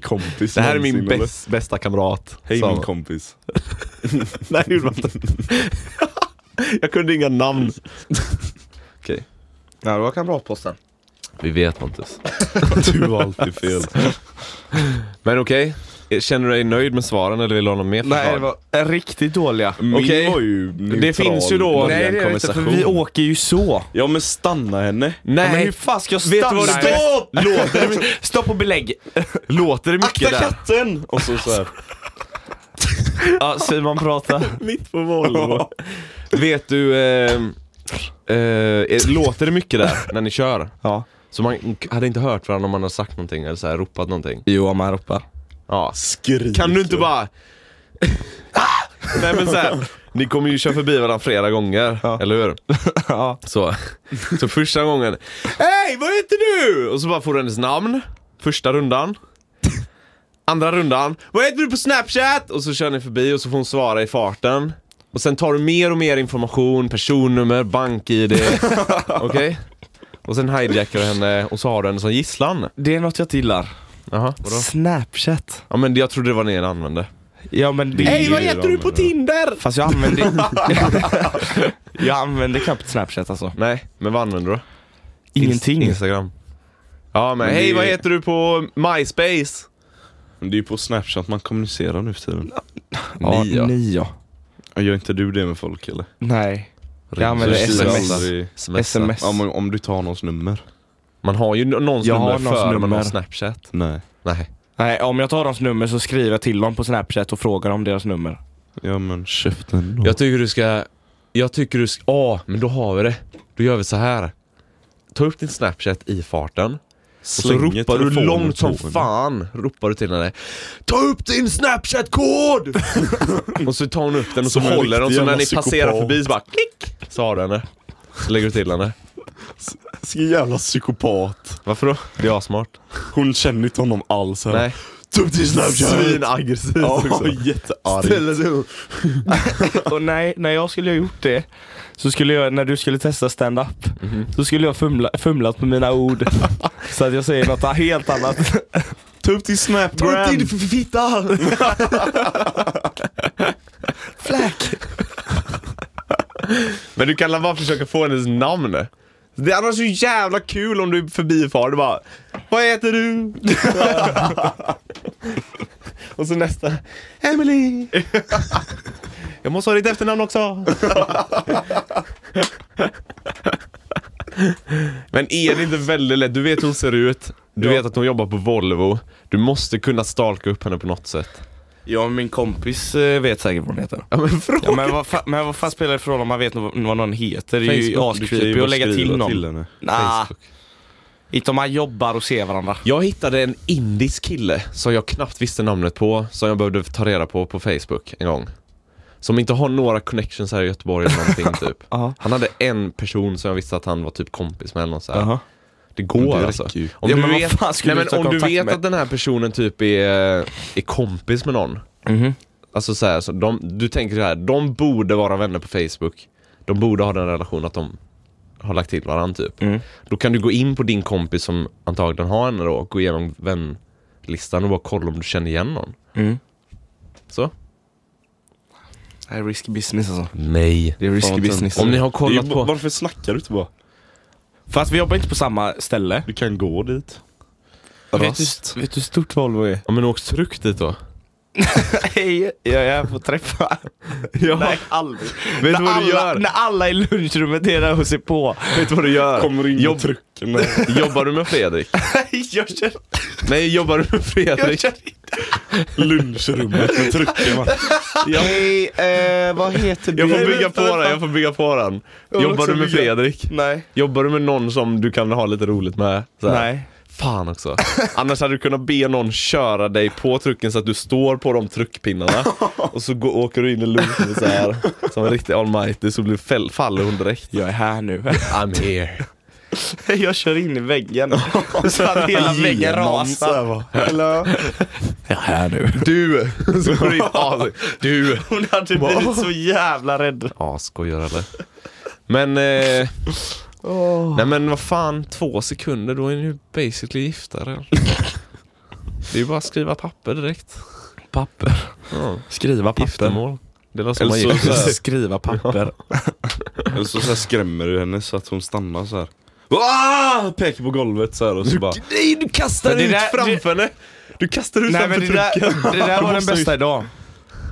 Speaker 3: kompis
Speaker 2: Det här är min
Speaker 3: någonsin, eller?
Speaker 2: bäst, bästa kamrat.
Speaker 3: Hej
Speaker 2: sa
Speaker 3: min
Speaker 2: man.
Speaker 3: kompis.
Speaker 2: Nej det gjorde man inte. Jag kunde inga namn.
Speaker 1: Ja det var kamratposten.
Speaker 2: Vi vet Pontus.
Speaker 3: Du har alltid fel.
Speaker 2: Men okej, känner du dig nöjd med svaren eller vill du ha något mer
Speaker 1: Nej det
Speaker 2: förslag?
Speaker 1: var riktigt dåliga.
Speaker 3: Min
Speaker 2: Okej.
Speaker 3: var ju neutral.
Speaker 2: Det finns ju då-
Speaker 1: Nej Mm. det är det inte för vi åker ju så.
Speaker 3: Ja men stanna henne.
Speaker 1: Ja, men
Speaker 2: Nej,
Speaker 1: hur fan ska jag stanna?
Speaker 2: vet du vad det
Speaker 1: Nej.
Speaker 2: Stopp! Låter det,
Speaker 1: Stopp och belägg!
Speaker 2: låter det
Speaker 3: Akta
Speaker 2: mycket där?
Speaker 3: katten! Och så, så här.
Speaker 1: Ja, Simon prata.
Speaker 3: Mitt på Volvo.
Speaker 2: Vet du, eh, eh, eh, låter det mycket där när ni kör?
Speaker 1: Ja.
Speaker 2: Så man hade inte hört varandra om man hade sagt någonting eller så här, ropat någonting?
Speaker 1: Jo, man ropar.
Speaker 2: Ja.
Speaker 3: Skrik.
Speaker 2: Kan du inte bara... Ah! Nej men så här, ni kommer ju köra förbi varandra flera gånger,
Speaker 1: Ja.
Speaker 2: eller hur?
Speaker 1: Ja.
Speaker 2: Så, så första gången, Hej, vad heter du? Och så bara får du hennes namn, första rundan. Andra rundan, vad heter du på snapchat? Och så kör ni förbi och så får hon svara i farten. Och sen tar du mer och mer information, personnummer, bank-id. Okej? Och sen hijackar du henne och så har du henne som gisslan.
Speaker 1: Det är något jag inte gillar.
Speaker 2: Jaha, vadå?
Speaker 1: Snapchat.
Speaker 2: Ja men jag trodde det var ni använde.
Speaker 1: Ja men det...
Speaker 3: Hej, vad heter du på
Speaker 2: Tinder?
Speaker 1: Fast jag använder... jag använder knappt Snapchat alltså.
Speaker 2: Nej, men vad använder du?
Speaker 1: Ingenting.
Speaker 2: Instagram. Ja men,
Speaker 3: Men
Speaker 2: hej
Speaker 3: det-
Speaker 2: vad heter du på MySpace?
Speaker 3: Men det är ju på snapchat man kommunicerar nu för tiden.
Speaker 1: Ja,
Speaker 2: Ni, ja.
Speaker 1: nio.
Speaker 3: Ja, Gör inte du det med folk eller?
Speaker 1: Nej. Jag använder
Speaker 2: Så
Speaker 1: SMS.
Speaker 2: skriver alla.
Speaker 1: SMS.
Speaker 3: Ja, men om du tar någons nummer?
Speaker 2: Man har ju någons
Speaker 1: Jag har
Speaker 2: nummer
Speaker 1: någons
Speaker 2: före man har
Speaker 1: nummer.
Speaker 2: snapchat.
Speaker 3: Nej.
Speaker 2: Nej.
Speaker 1: Nej, om jag tar deras nummer så skriver jag till dem på Snapchat och frågar om deras nummer.
Speaker 3: Ja men käften då.
Speaker 2: Jag tycker du ska, jag tycker du ska, ja men då har vi det. Då gör vi så här. Ta upp din snapchat i farten. Och så
Speaker 3: Slänger
Speaker 2: ropar du
Speaker 3: telefonen
Speaker 2: långt som
Speaker 3: på henne.
Speaker 2: fan, ropar du till henne. Ta upp din snapchat-kod! och så tar hon upp den och så
Speaker 3: Som en
Speaker 2: håller den,
Speaker 3: riktig
Speaker 2: så när
Speaker 3: jävla
Speaker 2: ni passerar
Speaker 3: psykopat.
Speaker 2: förbi så bara klick! Så har du henne. Så lägger du till henne.
Speaker 3: Ska jävla psykopat.
Speaker 2: Varför då? Det är assmart.
Speaker 3: Hon känner inte honom alls. Här.
Speaker 2: Nej.
Speaker 3: Ta upp din
Speaker 2: Svinaggressivt
Speaker 3: Ja,
Speaker 2: också.
Speaker 3: jättearg.
Speaker 2: Ställer sig upp.
Speaker 1: Och nej, när jag skulle ha gjort det, så skulle jag, när du skulle testa stand-up, så skulle jag fumla, fumlat med mina ord. så att jag säger något helt annat.
Speaker 3: Ta upp din snapgram.
Speaker 2: Dra upp din f- fitta!
Speaker 1: Fläck!
Speaker 2: Men du kan bara försöka få hennes namn. Det hade varit så jävla kul om du är förbifar. Du bara Vad heter du? Och så nästa Emily Jag måste ha ditt efternamn också. Men är det inte väldigt lätt? Du vet hur hon ser ut. Du
Speaker 1: Ja.
Speaker 2: vet att hon jobbar på Volvo. Du måste kunna stalka upp henne på något sätt.
Speaker 1: Jag och min kompis eh, vet säkert vad hon heter.
Speaker 2: Ja men fråga.
Speaker 1: Ja, men, vad fa- men vad fan spelar det för roll om man vet vad vad någon heter? Det är ju
Speaker 3: Facebook, du kan ju
Speaker 1: ascreepy
Speaker 3: bara
Speaker 1: att lägga till
Speaker 3: skriva
Speaker 1: någon.
Speaker 3: henne.
Speaker 1: Nah. Inte om man jobbar och ser varandra.
Speaker 2: Jag hittade en indisk kille som jag knappt visste namnet på, som jag behövde ta reda på på Facebook en gång. Som inte har några connections här i Göteborg eller någonting typ.
Speaker 1: Aha.
Speaker 2: Han hade en person som jag visste att han var typ kompis med eller något så här.
Speaker 1: Aha.
Speaker 2: Det går
Speaker 3: Men det
Speaker 2: alltså.
Speaker 3: räcker ju.
Speaker 2: Om
Speaker 1: Ja,
Speaker 2: du
Speaker 1: men vad
Speaker 2: vet,
Speaker 1: fan skulle
Speaker 2: nej,
Speaker 1: du
Speaker 2: men
Speaker 1: ta
Speaker 2: om du
Speaker 1: kontakt
Speaker 2: vet
Speaker 1: med?
Speaker 2: att den här personen typ är, är kompis med någon.
Speaker 1: Mhm.
Speaker 2: Alltså så här, så de, du tänker så här, de borde vara vänner på Facebook. De borde ha den relationen att de har lagt till varandra typ.
Speaker 1: Mm.
Speaker 2: Då kan du gå in på din kompis som antagligen har henne då och gå igenom vänlistan och bara kolla om du känner igen någon.
Speaker 1: Mm.
Speaker 2: Så?
Speaker 1: Det här är risky business alltså.
Speaker 2: Nej.
Speaker 1: Det är risky
Speaker 3: Fan,
Speaker 1: business.
Speaker 2: Om ni har
Speaker 3: Det är ju
Speaker 2: kollat
Speaker 3: ba-
Speaker 2: på...
Speaker 3: Varför snackar du inte bara?
Speaker 1: För att vi jobbar inte på samma ställe.
Speaker 3: Du kan gå dit.
Speaker 1: Vet du, vet du hur stort Volvo är?
Speaker 2: Ja men åk tryggt dit då.
Speaker 1: Nej, jag är på träffa.
Speaker 2: Ja.
Speaker 1: Nej, aldrig.
Speaker 2: Vet
Speaker 1: när,
Speaker 2: du vad du
Speaker 1: alla,
Speaker 2: gör?
Speaker 1: när alla i lunchrummet är där och ser på.
Speaker 2: Vet du vad du gör?
Speaker 3: Kommer in
Speaker 2: Jobb-
Speaker 3: i trucken. och-
Speaker 2: Jobbar du med Fredrik?
Speaker 1: Nej, jag kör,
Speaker 2: Nej, jobbar du med
Speaker 1: jag
Speaker 2: Fredrik?
Speaker 1: kör
Speaker 3: lunchrummet med trucken. va?
Speaker 2: Hej, eh, vad heter du? Jag får bygga på den, jag får bygga på den.
Speaker 1: Jag vill
Speaker 2: Jobbar
Speaker 1: också
Speaker 2: du med
Speaker 1: bygga.
Speaker 2: Fredrik?
Speaker 1: Nej.
Speaker 2: Jobbar du med någon som du kan ha lite roligt med? Så här.
Speaker 1: Nej.
Speaker 2: Fan också. Annars hade du kunnat be någon köra dig på trucken så att du står på de truckpinnarna och så går, åker du in i lunchen så här som en riktig almighty så blir fäll, faller hon direkt.
Speaker 1: Jag är här nu.
Speaker 2: I'm here.
Speaker 1: jag kör in i väggen. Så att hela väggen
Speaker 2: Genom
Speaker 1: rasar.
Speaker 2: Hello.
Speaker 1: Jag är här nu.
Speaker 2: Du! Så går du in. As- Du!
Speaker 1: Hon hade blivit så jävla rädd.
Speaker 2: Asskojar eller? Men, eh, nej men vad fan, två sekunder då är ni ju basically gifta redan. Det är ju bara att skriva papper direkt.
Speaker 1: Papper.
Speaker 2: Ja.
Speaker 1: Skriva
Speaker 2: Giftermål. Det var så
Speaker 3: Eller
Speaker 2: man
Speaker 3: så-
Speaker 2: gick.
Speaker 3: så här-
Speaker 1: Skriva papper.
Speaker 3: Eller så, så här skrämmer du henne så att hon stannar så här. Ah! Pekar på golvet så här och så bara
Speaker 2: Nej, du kastar
Speaker 1: Men det
Speaker 2: ut
Speaker 1: där-
Speaker 2: framför henne! Du kastar ut
Speaker 1: Nej
Speaker 2: framför
Speaker 1: men det där,
Speaker 2: trucken.
Speaker 1: det där var den bästa idag.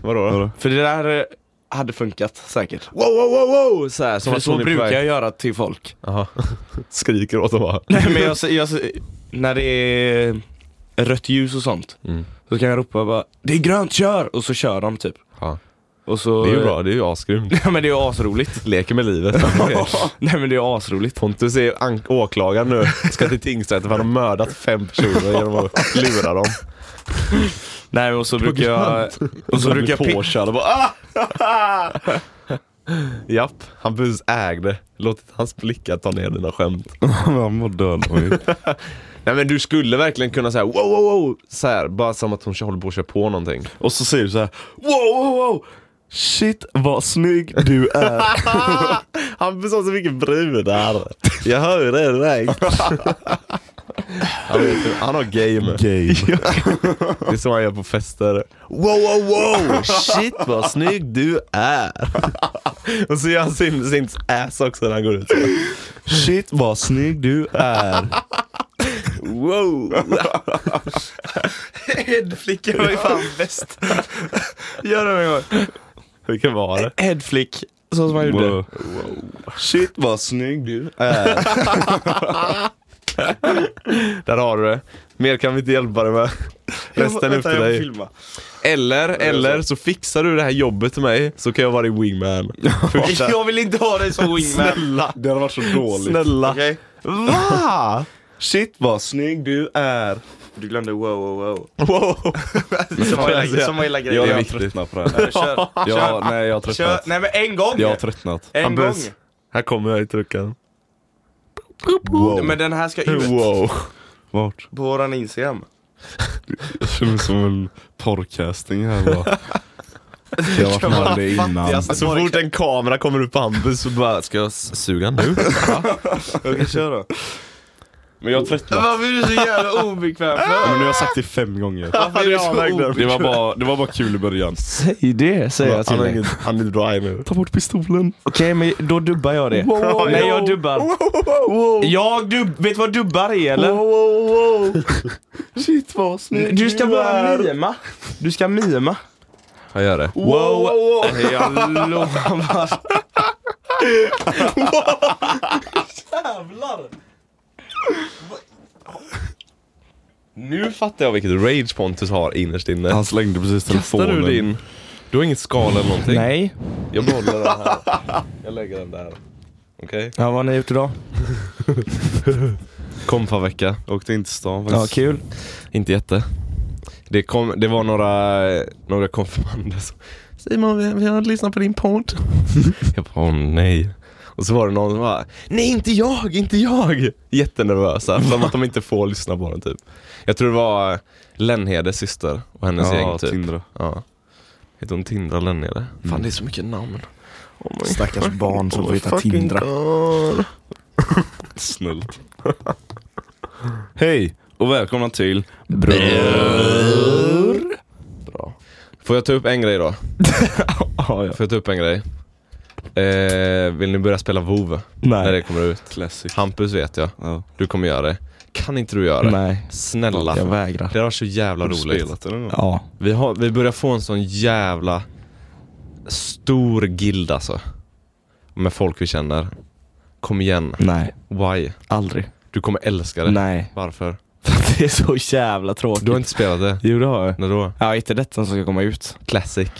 Speaker 2: Vadå? Då?
Speaker 1: För det där eh, hade funkat säkert.
Speaker 2: Wow, wow, wow, wow! Så här, som
Speaker 1: För
Speaker 2: att
Speaker 1: så
Speaker 2: hon är på
Speaker 1: brukar
Speaker 2: väg-
Speaker 1: jag göra till folk.
Speaker 2: Jaha. Skriker åt dem bara.
Speaker 1: Nej men jag, jag, när det är rött ljus och sånt
Speaker 2: Mm.
Speaker 1: så kan jag ropa bara Det är grönt, kör! Och så kör de typ.
Speaker 2: Ja.
Speaker 1: Och så,
Speaker 2: Det är ju bra, det är ju asgrymt.
Speaker 1: Ja men det är ju asroligt.
Speaker 2: Leker med livet.
Speaker 1: Nej men det är ju asroligt.
Speaker 2: Pontus är ank- åklagare nu, ska till tingsrätten för han har mördat fem personer genom att lura dem.
Speaker 1: Nej och så brukar jag... Och så
Speaker 2: Han
Speaker 1: brukar jag
Speaker 2: blir
Speaker 1: pi-
Speaker 2: påkörd och bara "Ah!" Japp, han precis ägde. Låtit hans blickar ta ner dina skämt.
Speaker 3: Han var död
Speaker 2: Nej men du skulle verkligen kunna säga wow wow wow, så här, bara som att hon håller på att köra på någonting.
Speaker 3: Och så säger du så här. Wow wow wow Shit vad snygg du är
Speaker 2: Han sa så mycket brudar. Jag hör ju det direkt. Han, vet, ju- han har game.
Speaker 3: game
Speaker 2: Det är så han gör på fester. Wow, wow, wow! Shit vad snygg du är. Och så gör han sin, sin ass också när han går ut.
Speaker 3: Shit vad snygg du är
Speaker 2: Wow!
Speaker 1: Headflick var ju fan bäst. Gör det en gång.
Speaker 2: Vilken var det?
Speaker 1: Headflick, så som han gjorde.
Speaker 3: wow. Shit vad snygg du är
Speaker 2: Där har du det. Mer kan vi inte hjälpa dig med. Resten är upp till dig. Eller, eller så fixar du det här jobbet till mig så kan jag vara din wingman. Första.
Speaker 1: Jag vill inte ha dig som wingman.
Speaker 2: Snälla,
Speaker 3: Det hade varit så dåligt
Speaker 2: snälla.
Speaker 1: Okej?
Speaker 2: Va?
Speaker 3: Shit vad snygg du är
Speaker 1: Du glömde wow wow wow.
Speaker 2: Wow.
Speaker 1: Som var hela- som var hela
Speaker 3: Jag har
Speaker 1: grejen.
Speaker 3: tröttnat på det här
Speaker 1: Kör,
Speaker 3: jag,
Speaker 1: kör,
Speaker 3: Nej jag har
Speaker 1: kör.
Speaker 3: tröttnat
Speaker 1: Nej men en gång!
Speaker 3: Jag har tröttnat
Speaker 1: En gång!
Speaker 2: Hampus. Här kommer jag i trucken.
Speaker 3: Wow
Speaker 1: Men den här ska ut
Speaker 2: Wow.
Speaker 3: Vart?
Speaker 1: på våran Instagram.
Speaker 3: Jag känner mig som en porrcasting här bara. Jag har varit med om det innan. Alltså,
Speaker 1: fattigaste-
Speaker 2: Så fort en kamera kommer upp på Hampus så bara, ska jag s- suga nu?
Speaker 1: Okej, kör då.
Speaker 3: Men jag har tröttnat.
Speaker 1: Varför är du så jävla obekväm för?
Speaker 3: Men nu har jag sagt det fem gånger.
Speaker 1: Varför är jag verkligen-
Speaker 3: Det var bara, det var bara kul i början.
Speaker 1: Säg det, säger jag till
Speaker 2: Han är
Speaker 1: dig.
Speaker 2: ingen- han är dry nu.
Speaker 3: Ta bort pistolen.
Speaker 1: Okej, men då dubbar jag det. Nej, jag dubbar. Jag dubb... Vet du vad dubbar är eller?
Speaker 3: Shit vad snygg
Speaker 1: Du ska bara mima. Du ska mima.
Speaker 2: Han gör det.
Speaker 1: Wow, jag lovar. Jävlar!
Speaker 2: Nu fattar jag vilket rage Pontus har innerst inne.
Speaker 3: Han slängde precis
Speaker 2: Kastar
Speaker 3: telefonen.
Speaker 2: du din? Du har inget skal eller någonting?
Speaker 1: Nej.
Speaker 2: Jag behåller den här. Jag lägger den där. Okej?
Speaker 1: Ja, vad har ni gjort idag?
Speaker 2: Kompa-vecka.
Speaker 3: Jag åkte in till stan
Speaker 1: Ja,
Speaker 3: faktiskt.
Speaker 1: kul.
Speaker 2: Inte jätte. Det, kom, det var några, några konfirmander som Simon, vi, vi har lyssnat på din podd. jag bara, åh nej. Och så var det någon som bara, nej inte jag, inte jag! Jättenervösa, som att de inte får lyssna på den typ. Jag tror det var Lennhedes syster och hennes
Speaker 3: Ja,
Speaker 2: gäng typ.
Speaker 3: Tindra. Mm.
Speaker 2: Ja. Heter hon Tindra Lennhede? Fan det är så mycket namn. Oh my
Speaker 1: Stackars barn som får hitta
Speaker 2: fucking
Speaker 1: Tindra.
Speaker 2: God.
Speaker 3: Snällt. Hej och välkomna till
Speaker 2: Bra. Får jag ta upp en grej då?
Speaker 1: Ja, ja.
Speaker 2: Får jag ta upp en grej? Eh, vill ni börja spela WoW när det
Speaker 1: Nej.
Speaker 2: kommer ut?
Speaker 3: Classic.
Speaker 2: Hampus vet jag,
Speaker 3: Ja.
Speaker 2: du kommer göra det. Kan inte du göra det?
Speaker 1: Nej.
Speaker 2: Snälla.
Speaker 1: Jag vägrar.
Speaker 2: Det var så jävla
Speaker 3: Har du
Speaker 2: roligt.
Speaker 3: spelat eller något?
Speaker 1: Ja.
Speaker 2: Vi, har, vi börjar få en sån jävla stor guild alltså. Med folk vi känner. Kom igen.
Speaker 1: Nej.
Speaker 2: Why?
Speaker 1: Aldrig.
Speaker 2: Du kommer älska det.
Speaker 1: Nej.
Speaker 2: Varför?
Speaker 1: Det är så jävla tråkigt.
Speaker 2: Du har inte spelat det?
Speaker 1: Jo, det har jag.
Speaker 2: När då?
Speaker 1: Ja, inte detta som ska komma ut.
Speaker 2: Classic.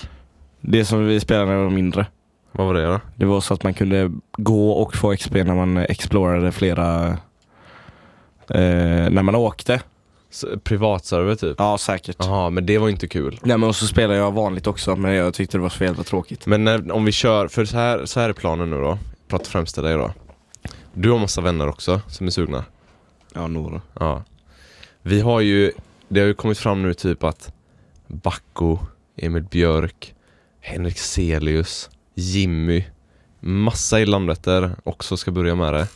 Speaker 1: Det som vi spelade när vi var mindre.
Speaker 2: Vad var det då?
Speaker 1: Det var så att man kunde gå och få XP när man explorade flera... Eh, när man åkte.
Speaker 2: S- Privatserver typ?
Speaker 1: Ja, säkert.
Speaker 2: Jaha, men det var inte kul.
Speaker 1: Nej men och så spelar jag vanligt också, men jag tyckte det var så jävla tråkigt.
Speaker 2: Men när, om vi kör, för så här, så här är planen nu då. Pratar främst till dig då. Du har massa vänner också som är sugna.
Speaker 3: Ja, några.
Speaker 2: Ja. Vi har ju, det har ju kommit fram nu typ att Bacco, Emil Björk, Henrik Selius, Jimmy, massa Illamrätter också ska börja med det.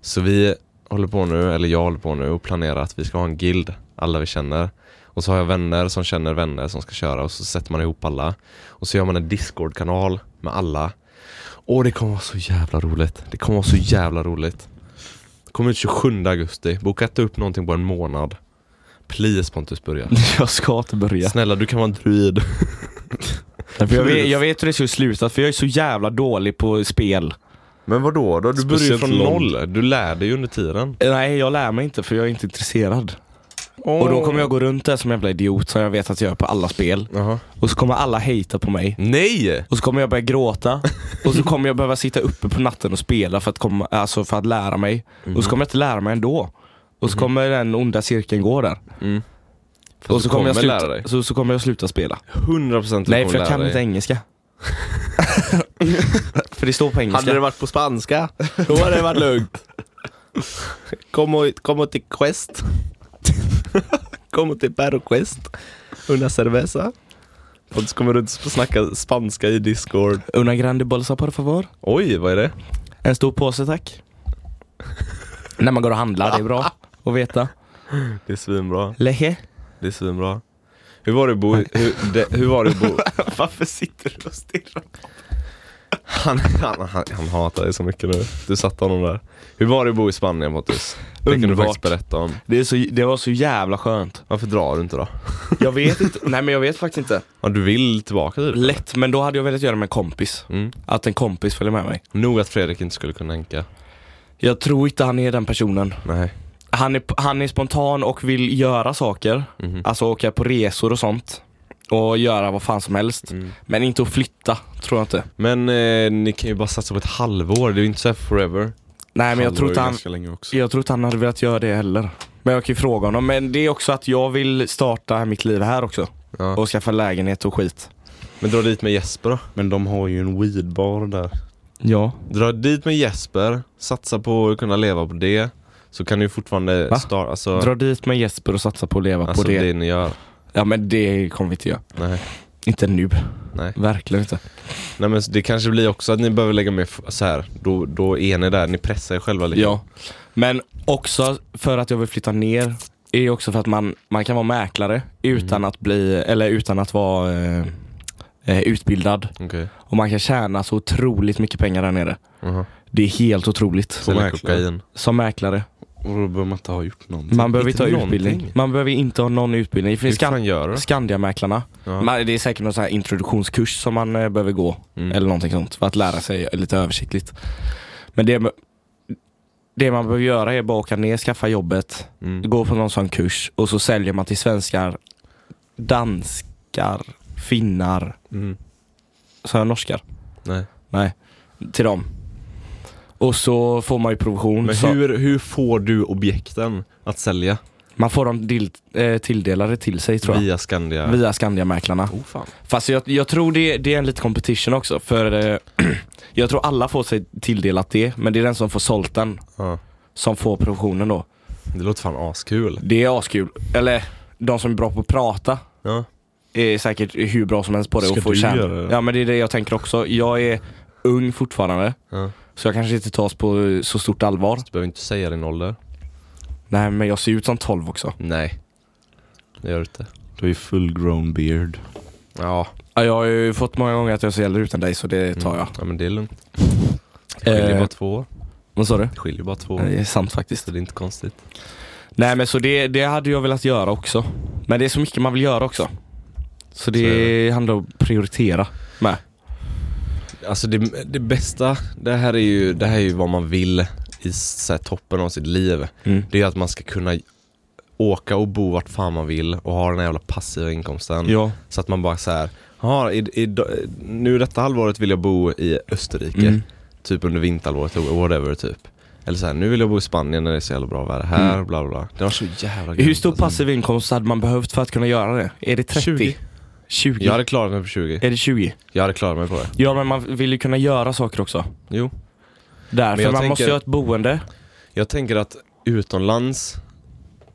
Speaker 2: Så vi håller på nu, eller jag håller på nu och planerar att vi ska ha en guild, alla vi känner. Och så har jag vänner som känner vänner som ska köra och så sätter man ihop alla. Och så gör man en Discord-kanal med alla. Och det kommer vara så jävla roligt. Det kommer vara så jävla roligt. Kom ut 27 augusti, boka inte upp någonting på en månad. Please Pontus börja.
Speaker 1: Jag ska inte börja.
Speaker 2: Snälla du kan vara en druid.
Speaker 1: För jag, vet, jag vet hur det skulle sluta, för jag är så jävla dålig på spel.
Speaker 2: Men vadå då? Du börjar ju
Speaker 3: Speciellt
Speaker 2: från
Speaker 3: långt.
Speaker 2: noll. Du lär dig ju under tiden.
Speaker 1: Nej, jag lär mig inte för jag är inte intresserad. Och då kommer jag gå runt där som en jävla idiot som jag vet att jag gör på alla spel.
Speaker 2: Jaha.
Speaker 1: Och så kommer alla hata på mig.
Speaker 2: Nej!
Speaker 1: Och så kommer jag börja gråta. Och så kommer jag behöva sitta uppe på natten och spela för att, komma, alltså för att lära mig. Och så kommer jag inte lära mig ändå. Och så kommer den onda cirkeln gå där.
Speaker 2: Mm.
Speaker 1: Och
Speaker 2: du
Speaker 1: så kommer, jag
Speaker 2: kommer lära dig.
Speaker 1: sluta, så, så kommer jag sluta spela.
Speaker 2: 100% du
Speaker 1: Nej,
Speaker 2: kommer
Speaker 1: för jag
Speaker 2: lära
Speaker 1: kan
Speaker 2: dig.
Speaker 1: inte engelska. för det står på engelska.
Speaker 2: varit på spanska, då hade det varit lugnt. Kom och, kom och till Quest. kom och till Perro Quest. Una cerveza. Pontus kommer runt och snackar spanska i Discord.
Speaker 1: Una grande bolsa por favor.
Speaker 2: Oj, vad är det?
Speaker 1: En stor påse tack. När man går och handlar, det är bra att veta.
Speaker 2: Det är svinbra.
Speaker 1: Leche.
Speaker 2: Det är svinbra. Hur var det Bo? Hur, det, hur var det Bo?
Speaker 1: Varför sitter du och stirrar?
Speaker 2: Han, han, han, han hatar dig så mycket nu. Du satte honom där. Hur var det att bo i Spanien Pontus? Det kan du
Speaker 1: Underbart.
Speaker 2: faktiskt berätta om.
Speaker 1: Det, är så, det var så jävla skönt.
Speaker 2: Varför drar du inte då?
Speaker 1: Jag vet inte. Nej men jag vet faktiskt inte.
Speaker 2: Ja, du vill tillbaka typ?
Speaker 1: Lätt, men då hade jag velat göra det med en kompis.
Speaker 2: Mm.
Speaker 1: Att en kompis följer med mig.
Speaker 2: Nog att Fredrik inte skulle kunna hänka.
Speaker 1: Jag tror inte han är den personen.
Speaker 2: Nej.
Speaker 1: Han är, han är spontan och vill göra saker.
Speaker 2: Mhm.
Speaker 1: Alltså åka på resor och sånt. Och göra vad fan som helst.
Speaker 2: Mm.
Speaker 1: Men inte att flytta, tror jag inte.
Speaker 2: Men eh, ni kan ju bara satsa på ett halvår, det är ju inte så här forever.
Speaker 1: Nej men jag
Speaker 3: Han
Speaker 1: tror
Speaker 3: var
Speaker 1: inte
Speaker 3: ju
Speaker 1: han,
Speaker 3: ganska länge också.
Speaker 1: jag tror inte han hade velat göra det heller. Men jag kan ju fråga honom. Men det är också att jag vill starta mitt liv här också.
Speaker 2: Ja.
Speaker 1: Och skaffa lägenhet och skit.
Speaker 2: Men dra dit med Jesper då.
Speaker 3: Men de har ju en weedbar där.
Speaker 1: Ja.
Speaker 2: Dra dit med Jesper, satsa på att kunna leva på det. så kan du ju fortfarande
Speaker 1: Va?
Speaker 2: starta, alltså,
Speaker 1: Dra dit med Jesper och satsa på att leva
Speaker 2: alltså
Speaker 1: på det.
Speaker 2: det. ni gör.
Speaker 1: Ja men det kommer vi inte göra.
Speaker 2: Nej.
Speaker 1: Inte nu.
Speaker 2: Nej.
Speaker 1: Verkligen inte.
Speaker 2: Nej men det kanske blir också att ni behöver lägga mer f- så här. Då, då är ni där, ni pressar er själva lite.
Speaker 1: Ja. Men också för att jag vill flytta ner är ju också för att man, man kan vara mäklare utan
Speaker 2: Mm.
Speaker 1: att bli, eller utan att vara eh, eh, utbildad.
Speaker 2: Okej.
Speaker 1: Och man kan tjäna så otroligt mycket pengar där nere.
Speaker 2: Jaha.
Speaker 1: Det är helt otroligt.
Speaker 2: Säljer
Speaker 3: mäklare.
Speaker 2: kokain.
Speaker 1: Som mäklare.
Speaker 3: Och då behöver man inte ha gjort någonting.
Speaker 1: Man behöver
Speaker 2: inte
Speaker 1: inte ha utbildning.
Speaker 2: någonting.
Speaker 1: Man behöver inte ha någon utbildning. Det
Speaker 2: Hur
Speaker 1: finns
Speaker 2: fan
Speaker 1: Skan-
Speaker 2: gör du?
Speaker 1: Skandiamäklarna.
Speaker 2: Ja.
Speaker 1: Man, det är säkert någon sån här introduktionskurs som man eh, behöver gå.
Speaker 2: Mm.
Speaker 1: Eller någonting sånt. För att lära sig lite översiktligt. Men det, det man behöver göra är bara åka ner, skaffa jobbet,
Speaker 2: Mm.
Speaker 1: gå på någon sån kurs och så säljer man till svenskar, danskar, finnar,
Speaker 2: Mm.
Speaker 1: så jag norskar?
Speaker 2: Nej.
Speaker 1: Nej. Till dem. Och så får man ju provision.
Speaker 2: Men
Speaker 1: så
Speaker 2: hur, hur får du objekten att sälja?
Speaker 1: Man får dem dill- eh, tilldelade till sig tror jag.
Speaker 2: Via Skandia?
Speaker 1: Via Skandiamäklarna.
Speaker 2: Oh, fan.
Speaker 1: Fast jag, jag tror det, det är en liten competition också för eh, jag tror alla får sig tilldelat det men det är den som får sålt den
Speaker 2: Ja.
Speaker 1: som får provisionen då.
Speaker 2: Det låter fan askul.
Speaker 1: Det är askul. Eller de som är bra på att prata
Speaker 2: Ja.
Speaker 1: är eh, säkert hur bra som helst på det
Speaker 3: Ska
Speaker 1: och får
Speaker 3: du
Speaker 1: tjäna.
Speaker 3: göra det?
Speaker 1: Ja men det är det jag tänker också. Jag är ung fortfarande
Speaker 2: Ja.
Speaker 1: så jag kanske inte tas på eh, så stort allvar.
Speaker 2: Du behöver inte säga din ålder.
Speaker 1: Nej men jag ser ut som 12 också.
Speaker 2: Nej. Det gör du inte.
Speaker 3: Du är full grown beard.
Speaker 2: Ja.
Speaker 1: Ja, Jag har ju fått många gånger att jag ser äldre ut än dig så
Speaker 2: Mm.
Speaker 1: det tar jag.
Speaker 2: Ja men det är lugnt. Det skiljer
Speaker 1: Eh.
Speaker 2: bara två år.
Speaker 1: Vad sa du?
Speaker 2: Det skiljer bara två år.
Speaker 1: Det är sant faktiskt.
Speaker 2: Så det är inte konstigt.
Speaker 1: Nej men så det, det hade jag velat göra också. Men det är så mycket man vill göra också. Så det,
Speaker 2: Så är
Speaker 1: handlar om att prioritera med.
Speaker 2: Alltså det, det bästa, det här är ju, det här är ju vad man vill i så här, toppen av sitt liv.
Speaker 1: Mm.
Speaker 2: Det är att man ska kunna åka och bo vart fan man vill och ha den här jävla passiva inkomsten.
Speaker 1: Ja.
Speaker 2: Så att man bara så här, jaha, i, i, nu detta halvåret vill jag bo i Österrike.
Speaker 1: Mm.
Speaker 2: Typ under vinterhalvåret, whatever typ. Eller så här, nu vill jag bo i Spanien när det är så jävla bra väder här,
Speaker 1: Mm.
Speaker 2: bla bla, bla. Det var så jävla
Speaker 1: Hur
Speaker 2: grymt,
Speaker 1: stor
Speaker 2: alltså.
Speaker 1: passiv inkomst hade man behövt för att kunna göra det? Är det 30?
Speaker 2: 20.
Speaker 1: 20?
Speaker 2: Jag hade klarat mig på 20.
Speaker 1: Är det 20?
Speaker 2: Jag hade klarat mig på det.
Speaker 1: Ja men man vill ju kunna göra saker också.
Speaker 2: Jo.
Speaker 1: Därför
Speaker 2: jag
Speaker 1: man
Speaker 2: tänker-
Speaker 1: måste ju ha ett boende.
Speaker 2: Jag tänker att utomlands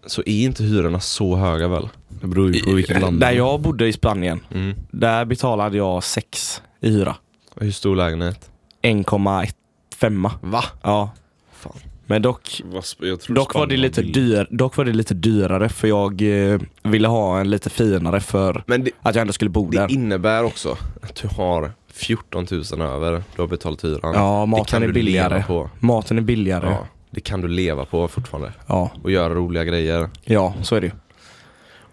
Speaker 2: så är inte hyrorna så höga väl?
Speaker 3: Det beror ju på
Speaker 2: Typ
Speaker 3: vilket land
Speaker 1: Där jag bodde i Spanien,
Speaker 2: Mm.
Speaker 1: där betalade jag 6 i hyra.
Speaker 2: Och Hur stor lägenhet?
Speaker 1: 1,5.
Speaker 2: Va?
Speaker 1: Ja.
Speaker 2: Fan.
Speaker 1: Men dock
Speaker 3: Jag tror
Speaker 1: Dock var, det
Speaker 3: Spanien
Speaker 1: lite
Speaker 3: billigt.
Speaker 1: dyr, dock var det lite dyrare för jag eh, ville ha en lite finare för
Speaker 2: Men det,
Speaker 1: att jag ändå skulle bo
Speaker 2: det
Speaker 1: där.
Speaker 2: innebär också att du har 14 000 över, du har betalat hyran.
Speaker 1: Ja, maten
Speaker 2: kan
Speaker 1: är
Speaker 2: du leva
Speaker 1: billigare.
Speaker 2: på.
Speaker 1: Maten är billigare.
Speaker 2: Ja, det kan du leva på fortfarande
Speaker 1: Ja,
Speaker 2: och göra roliga grejer.
Speaker 1: ja så är det ju.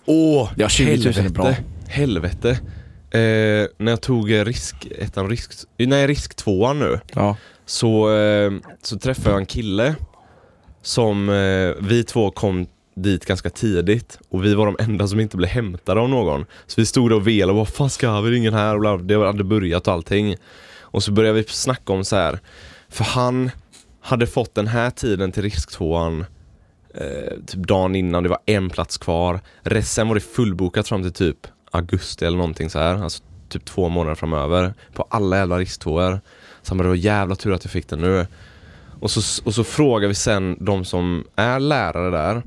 Speaker 2: Åh,
Speaker 1: Ja, 20 000 är bra.
Speaker 2: Helvete. Eh, när jag tog eh, risk, ettan, risk, nej, risk tvåan nu.
Speaker 1: Ja.
Speaker 2: Så, eh, så träffade jag en kille som eh, vi två kom dit ganska tidigt och vi var de enda som inte blev hämtade av någon. Så vi stod där och velade och bara, fan ska vi, det är ingen här och bla, bla, det hade börjat och allting. Och så började vi snacka om så här. för han hade fått den här tiden till risktvåan eh, typ dagen innan, det var en plats kvar. Resten var det fullbokat fram till typ augusti eller någonting så här. alltså typ två månader framöver på alla jävla risktvåor. Så han bara, det var jävla tur att jag fick den nu. Och så, och så frågar vi sen de som är lärare där.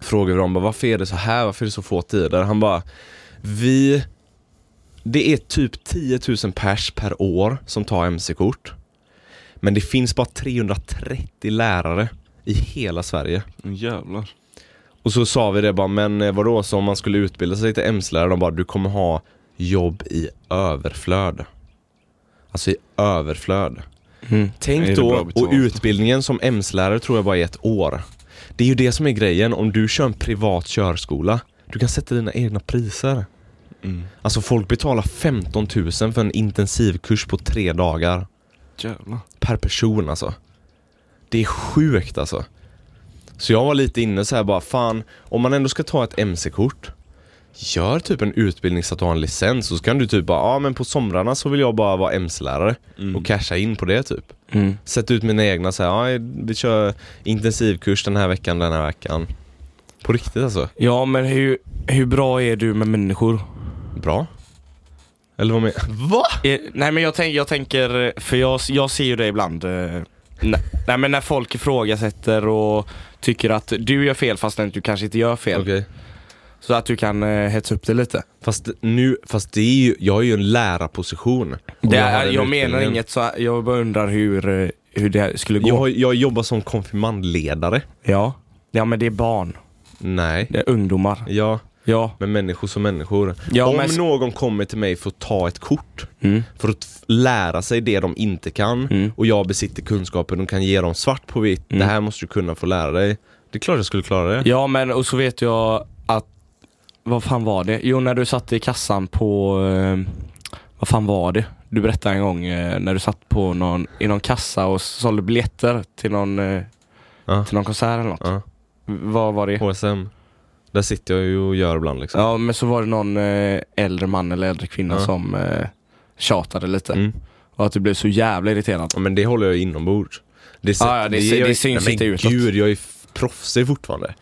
Speaker 2: Frågar vi dem, bara, varför är det så här? Varför är det så få tider? Han bara, vi... Det är typ 10 000 pers per år som tar MC-kort. Men det finns bara 330 lärare i hela Sverige.
Speaker 3: Mm, Jävlar.
Speaker 2: Och så sa vi det bara, men eh, vadå, så om man skulle utbilda sig till MC-lärare, de bara, du kommer ha jobb i överflöd. Alltså i överflöd.
Speaker 1: Mm.
Speaker 3: Är
Speaker 2: Tänk
Speaker 3: det
Speaker 2: då,
Speaker 3: bra
Speaker 2: och
Speaker 3: betalt?
Speaker 2: utbildningen som MC-lärare tror jag bara är ett år. Det är ju det som är grejen, om du kör en privat körskola, du kan sätta dina egna priser.
Speaker 3: Mm.
Speaker 2: Alltså folk betalar 15 000 för en intensivkurs på tre dagar.
Speaker 3: Jävlar.
Speaker 2: Per person alltså. Det är sjukt alltså. Så jag var lite inne så här bara, fan, om man ändå ska ta ett MC-kort, gör typ en utbildning så att du har en licens, och så kan du typ bara, ja ah, men på somrarna så vill jag bara vara MC-lärare och casha in på det typ.
Speaker 1: Mm.
Speaker 2: Sätt ut mina egna så här, ja, vi kör intensivkurs den här veckan, den här veckan. På riktigt alltså.
Speaker 1: ja, men hur, hur bra är du med människor?
Speaker 2: Bra. Eller vad menar Va?
Speaker 1: Eh, nej men jag, tänk, jag tänker, eh, för jag, jag ser ju det ibland. Eh, nej, nej men när folk ifrågasätter och tycker att du gör fel fastän du kanske inte gör fel.
Speaker 2: Okej.
Speaker 1: Så att du kan eh, hetsa upp det lite.
Speaker 2: Fast nu, fast det är ju, jag har ju en lärarposition. Och
Speaker 1: Det
Speaker 2: har
Speaker 1: är,
Speaker 2: den
Speaker 1: jag menar
Speaker 2: utbildningen.
Speaker 1: inget så jag bara undrar hur, eh, hur det här skulle gå.
Speaker 2: Jag, har- jag jobbar som konfirmandledare.
Speaker 1: Ja. ja, men det är barn.
Speaker 2: Nej.
Speaker 1: Det är ungdomar.
Speaker 2: Ja,
Speaker 1: Ja.
Speaker 2: men människor som människor.
Speaker 1: Ja,
Speaker 2: Om
Speaker 1: men-
Speaker 2: någon kommer till mig för att ta ett kort,
Speaker 1: Mm.
Speaker 2: för att f- lära sig det de inte kan,
Speaker 1: Mm.
Speaker 2: och jag besitter kunskapen och kan ge dem svart på vitt,
Speaker 1: Mm.
Speaker 2: det här måste du kunna få lära dig. Det är klart jag skulle klara det.
Speaker 1: Ja, men och så vet jag att... Vad fan var det? Jo, när du satt i kassan på... Eh, vad fan var det? Du berättade en gång eh, när du satt på någon, i någon kassa och sålde biljetter till någon, eh,
Speaker 2: Ja.
Speaker 1: till någon konsert eller något.
Speaker 2: Ja.
Speaker 1: Vad var det?
Speaker 2: HSM, där sitter jag ju och gör ibland liksom.
Speaker 1: Ja, men så var det någon eh, äldre man eller äldre kvinna
Speaker 2: Ja.
Speaker 1: som eh, tjatade lite.
Speaker 2: Mm.
Speaker 1: Och att du blev så jävla irriterad.
Speaker 2: Ja, men det håller jag inombords. Det,
Speaker 1: Ja, ja, det sy- det syns
Speaker 2: nej,
Speaker 1: inte
Speaker 2: men
Speaker 1: utåt.
Speaker 2: Gud, jag är f- proffsig fortfarande.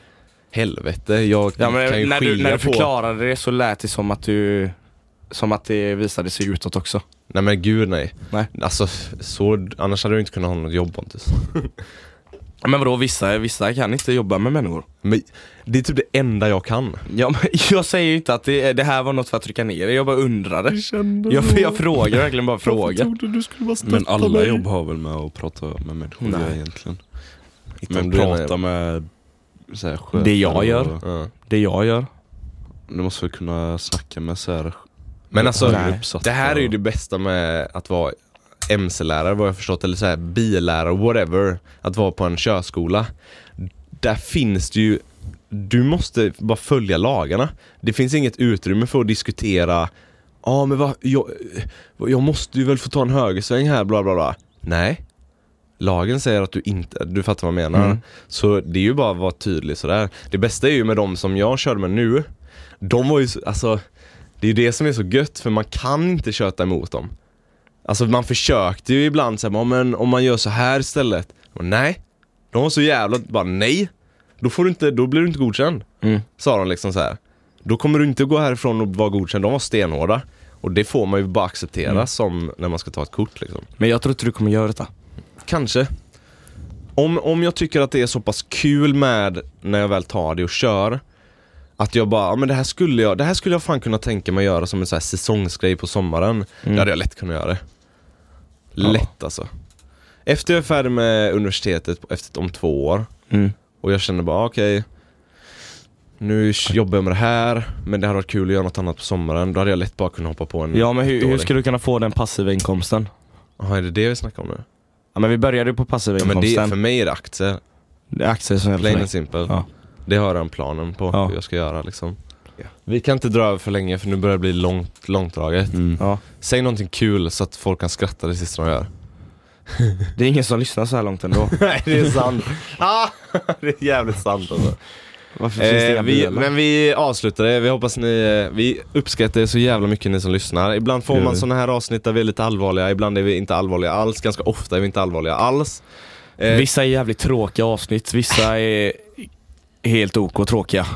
Speaker 2: Helvete, jag
Speaker 1: Ja,
Speaker 2: kan ju
Speaker 1: men när,
Speaker 2: skilja
Speaker 1: du, när du
Speaker 2: på...
Speaker 1: förklarade det så lät det som att du som att det visade sig utåt också.
Speaker 2: Nej men gud nej.
Speaker 1: Nej.
Speaker 2: Alltså så, annars hade jag inte kunnat ha något jobb Pontus.
Speaker 1: Ja, Men vadå, vissa, vissa kan inte jobba med människor.
Speaker 2: Men det är typ det enda jag kan.
Speaker 1: Ja, men jag säger ju inte att det, det här var något för att trycka ner dig, jag bara undrade. Jag, jag frågar verkligen bara frågar.
Speaker 2: trodde du skulle vara
Speaker 3: Men alla jobb har väl med att prata med människor
Speaker 1: Nej.
Speaker 3: att göra egentligen.
Speaker 2: om
Speaker 3: Men
Speaker 2: du är
Speaker 3: prata med så här, chefer
Speaker 1: Det jag gör.
Speaker 3: och-
Speaker 2: Ja.
Speaker 1: Det jag gör.
Speaker 3: Du måste väl kunna snacka med så här,
Speaker 2: Men alltså,
Speaker 1: Nej.
Speaker 2: det här är ju det bästa med att vara MC-lärare vad jag förstått, eller så här billärare, whatever. Att vara på en körskola. Där finns det ju, du måste bara följa lagarna. Det finns inget utrymme för att diskutera, ja men vad, jag, jag måste ju väl få ta en högersväng här, bla bla bla. Nej. Lagen säger att du inte, du fattar vad jag menar.
Speaker 1: Mm.
Speaker 2: Så det är ju bara att vara tydlig sådär. Det bästa är ju med de som jag körde med nu, de var ju, så- alltså det är ju det som är så gött för man kan inte köta emot dem. Alltså man försökte ju ibland säga men om man gör så här istället. Och nej, de var så jävla, bara nej. Då får du inte, då blir du inte godkänd.
Speaker 1: Mm.
Speaker 2: Sa de liksom så här. Då kommer du inte gå härifrån och vara godkänd, de var stenhårda. Och det får man ju bara acceptera som när man ska ta ett kort liksom.
Speaker 1: Men jag tror inte du kommer göra detta.
Speaker 2: Kanske. Om, om jag tycker att det är så pass kul med när jag väl tar det och kör att jag bara, ja, men det här skulle jag, det här skulle jag fan kunna tänka mig göra som en så här säsongsgrej på sommaren.
Speaker 1: Mm.
Speaker 2: Då hade jag lätt kunnat göra det. Lätt alltså. Efter jag är färdig med universitetet efter, om två år
Speaker 1: Mm.
Speaker 2: och jag känner bara okej Nu jobbar jag med det här men det hade varit kul att göra något annat på sommaren. Då hade jag lätt bara kunnat hoppa på en
Speaker 1: Ja men hur, hur
Speaker 2: ettåring.
Speaker 1: ska du kunna få den passiva inkomsten?
Speaker 2: Jaha, är det det vi snackar om nu?
Speaker 1: Ja men vi började ju på passiva
Speaker 2: Ja, men
Speaker 1: inkomsten.
Speaker 2: det, för mig är det aktier.
Speaker 1: Det är aktier som gäller för
Speaker 2: Plain
Speaker 1: mig.
Speaker 2: and simple.
Speaker 1: Ja.
Speaker 2: Det har jag redan planen på
Speaker 1: Ja.
Speaker 2: hur jag ska göra liksom. Vi kan inte dra över för länge för nu börjar det bli långt, långdraget.
Speaker 3: Mm.
Speaker 1: Ja.
Speaker 2: Säg någonting kul så att folk kan skratta det sista de gör.
Speaker 1: Det är ingen som lyssnar så här långt ändå.
Speaker 2: Nej det är sant. ah, det är jävligt sant alltså.
Speaker 1: Varför finns det
Speaker 2: Eh,
Speaker 1: inga
Speaker 2: vi,
Speaker 1: bilar?
Speaker 2: men vi avslutar det. Vi hoppas ni, eh, vi uppskattar er så jävla mycket ni som lyssnar. Ibland får
Speaker 3: Gör
Speaker 2: man
Speaker 3: vi.
Speaker 2: sådana här avsnitt där vi är lite allvarliga, ibland är vi inte allvarliga alls. Ganska ofta är vi inte allvarliga alls. Eh,
Speaker 1: Vissa är jävligt tråkiga avsnitt, vissa är helt ok och tråkiga.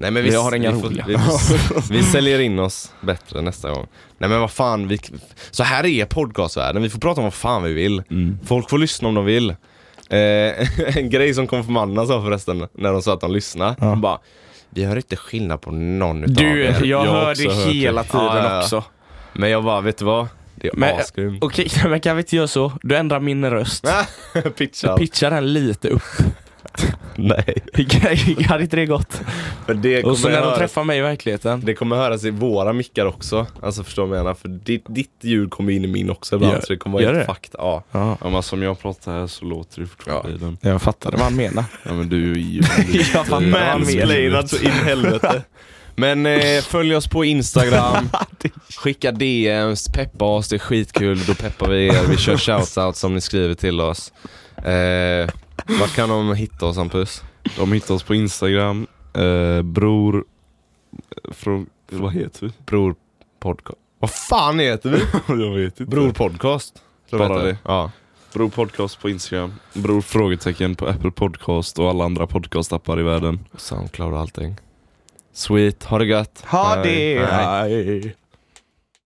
Speaker 2: Nej, men
Speaker 1: Vi har inga
Speaker 2: får-
Speaker 1: roliga.
Speaker 2: Vi, får- vi säljer in oss bättre nästa gång. Nej men vad fan, vi, så här är podcastvärlden. Vi får prata om vad fan vi vill.
Speaker 1: Mm.
Speaker 2: Folk får lyssna om de vill. Eh, en grej som konfirmanderna sa förresten, när de sa att de lyssnade. De bara, vi hör inte skillnad på någon utav
Speaker 1: Du,
Speaker 2: er.
Speaker 1: jag, hör
Speaker 3: också
Speaker 1: det
Speaker 3: hört det.
Speaker 1: hela tiden
Speaker 2: Ja, ja, ja.
Speaker 1: också.
Speaker 2: Men jag bara, vet du vad? Det är
Speaker 1: Men-
Speaker 2: asgrymt.
Speaker 1: Okej, men kan vi inte göra så? Du ändrar min röst.
Speaker 2: Pitcha.
Speaker 1: Pitcha den lite upp.
Speaker 2: Nej.
Speaker 1: Hade inte det gått?
Speaker 2: För det
Speaker 1: Och så
Speaker 2: kommer
Speaker 1: när de
Speaker 2: höras-
Speaker 1: träffar mig i verkligheten.
Speaker 2: Det kommer höras i våra mickar också. Alltså förstår du vad jag menar? För ditt, ditt ljud kommer in i min också ibland.
Speaker 1: Gör-
Speaker 2: så det kommer vara
Speaker 1: gör
Speaker 2: helt
Speaker 1: det?
Speaker 2: fucked. Ja.
Speaker 1: Ja,
Speaker 3: Ja, men som jag pratar här så låter det fortfarande i den.
Speaker 1: jag fattade vad han menar.
Speaker 3: Ja, men du är ju
Speaker 1: jag fattar vad han menar.
Speaker 2: Mansplainad så in i helvete. Men eh, följ oss på Instagram, skicka DMs, peppa oss, det är skitkul. Då peppar vi er. Vi kör shoutouts som ni skriver till oss. Eh, var kan de hitta oss Hampus?
Speaker 3: De hittar oss på Instagram, eh, bror... Från, vad heter vi?
Speaker 2: Bror podcast. Vad fan heter vi?
Speaker 3: jag vet inte.
Speaker 2: Bror podcast. tror jag
Speaker 3: Bara
Speaker 2: heter.
Speaker 3: det.
Speaker 2: Ja.
Speaker 3: bror podcast på Instagram, bror frågetecken på Apple podcast och alla andra podcastappar i världen.
Speaker 2: Soundcloud och allting. Sweet, ha det gött.
Speaker 1: Ha
Speaker 2: Hej.
Speaker 1: det!
Speaker 2: Hej.
Speaker 1: Hej.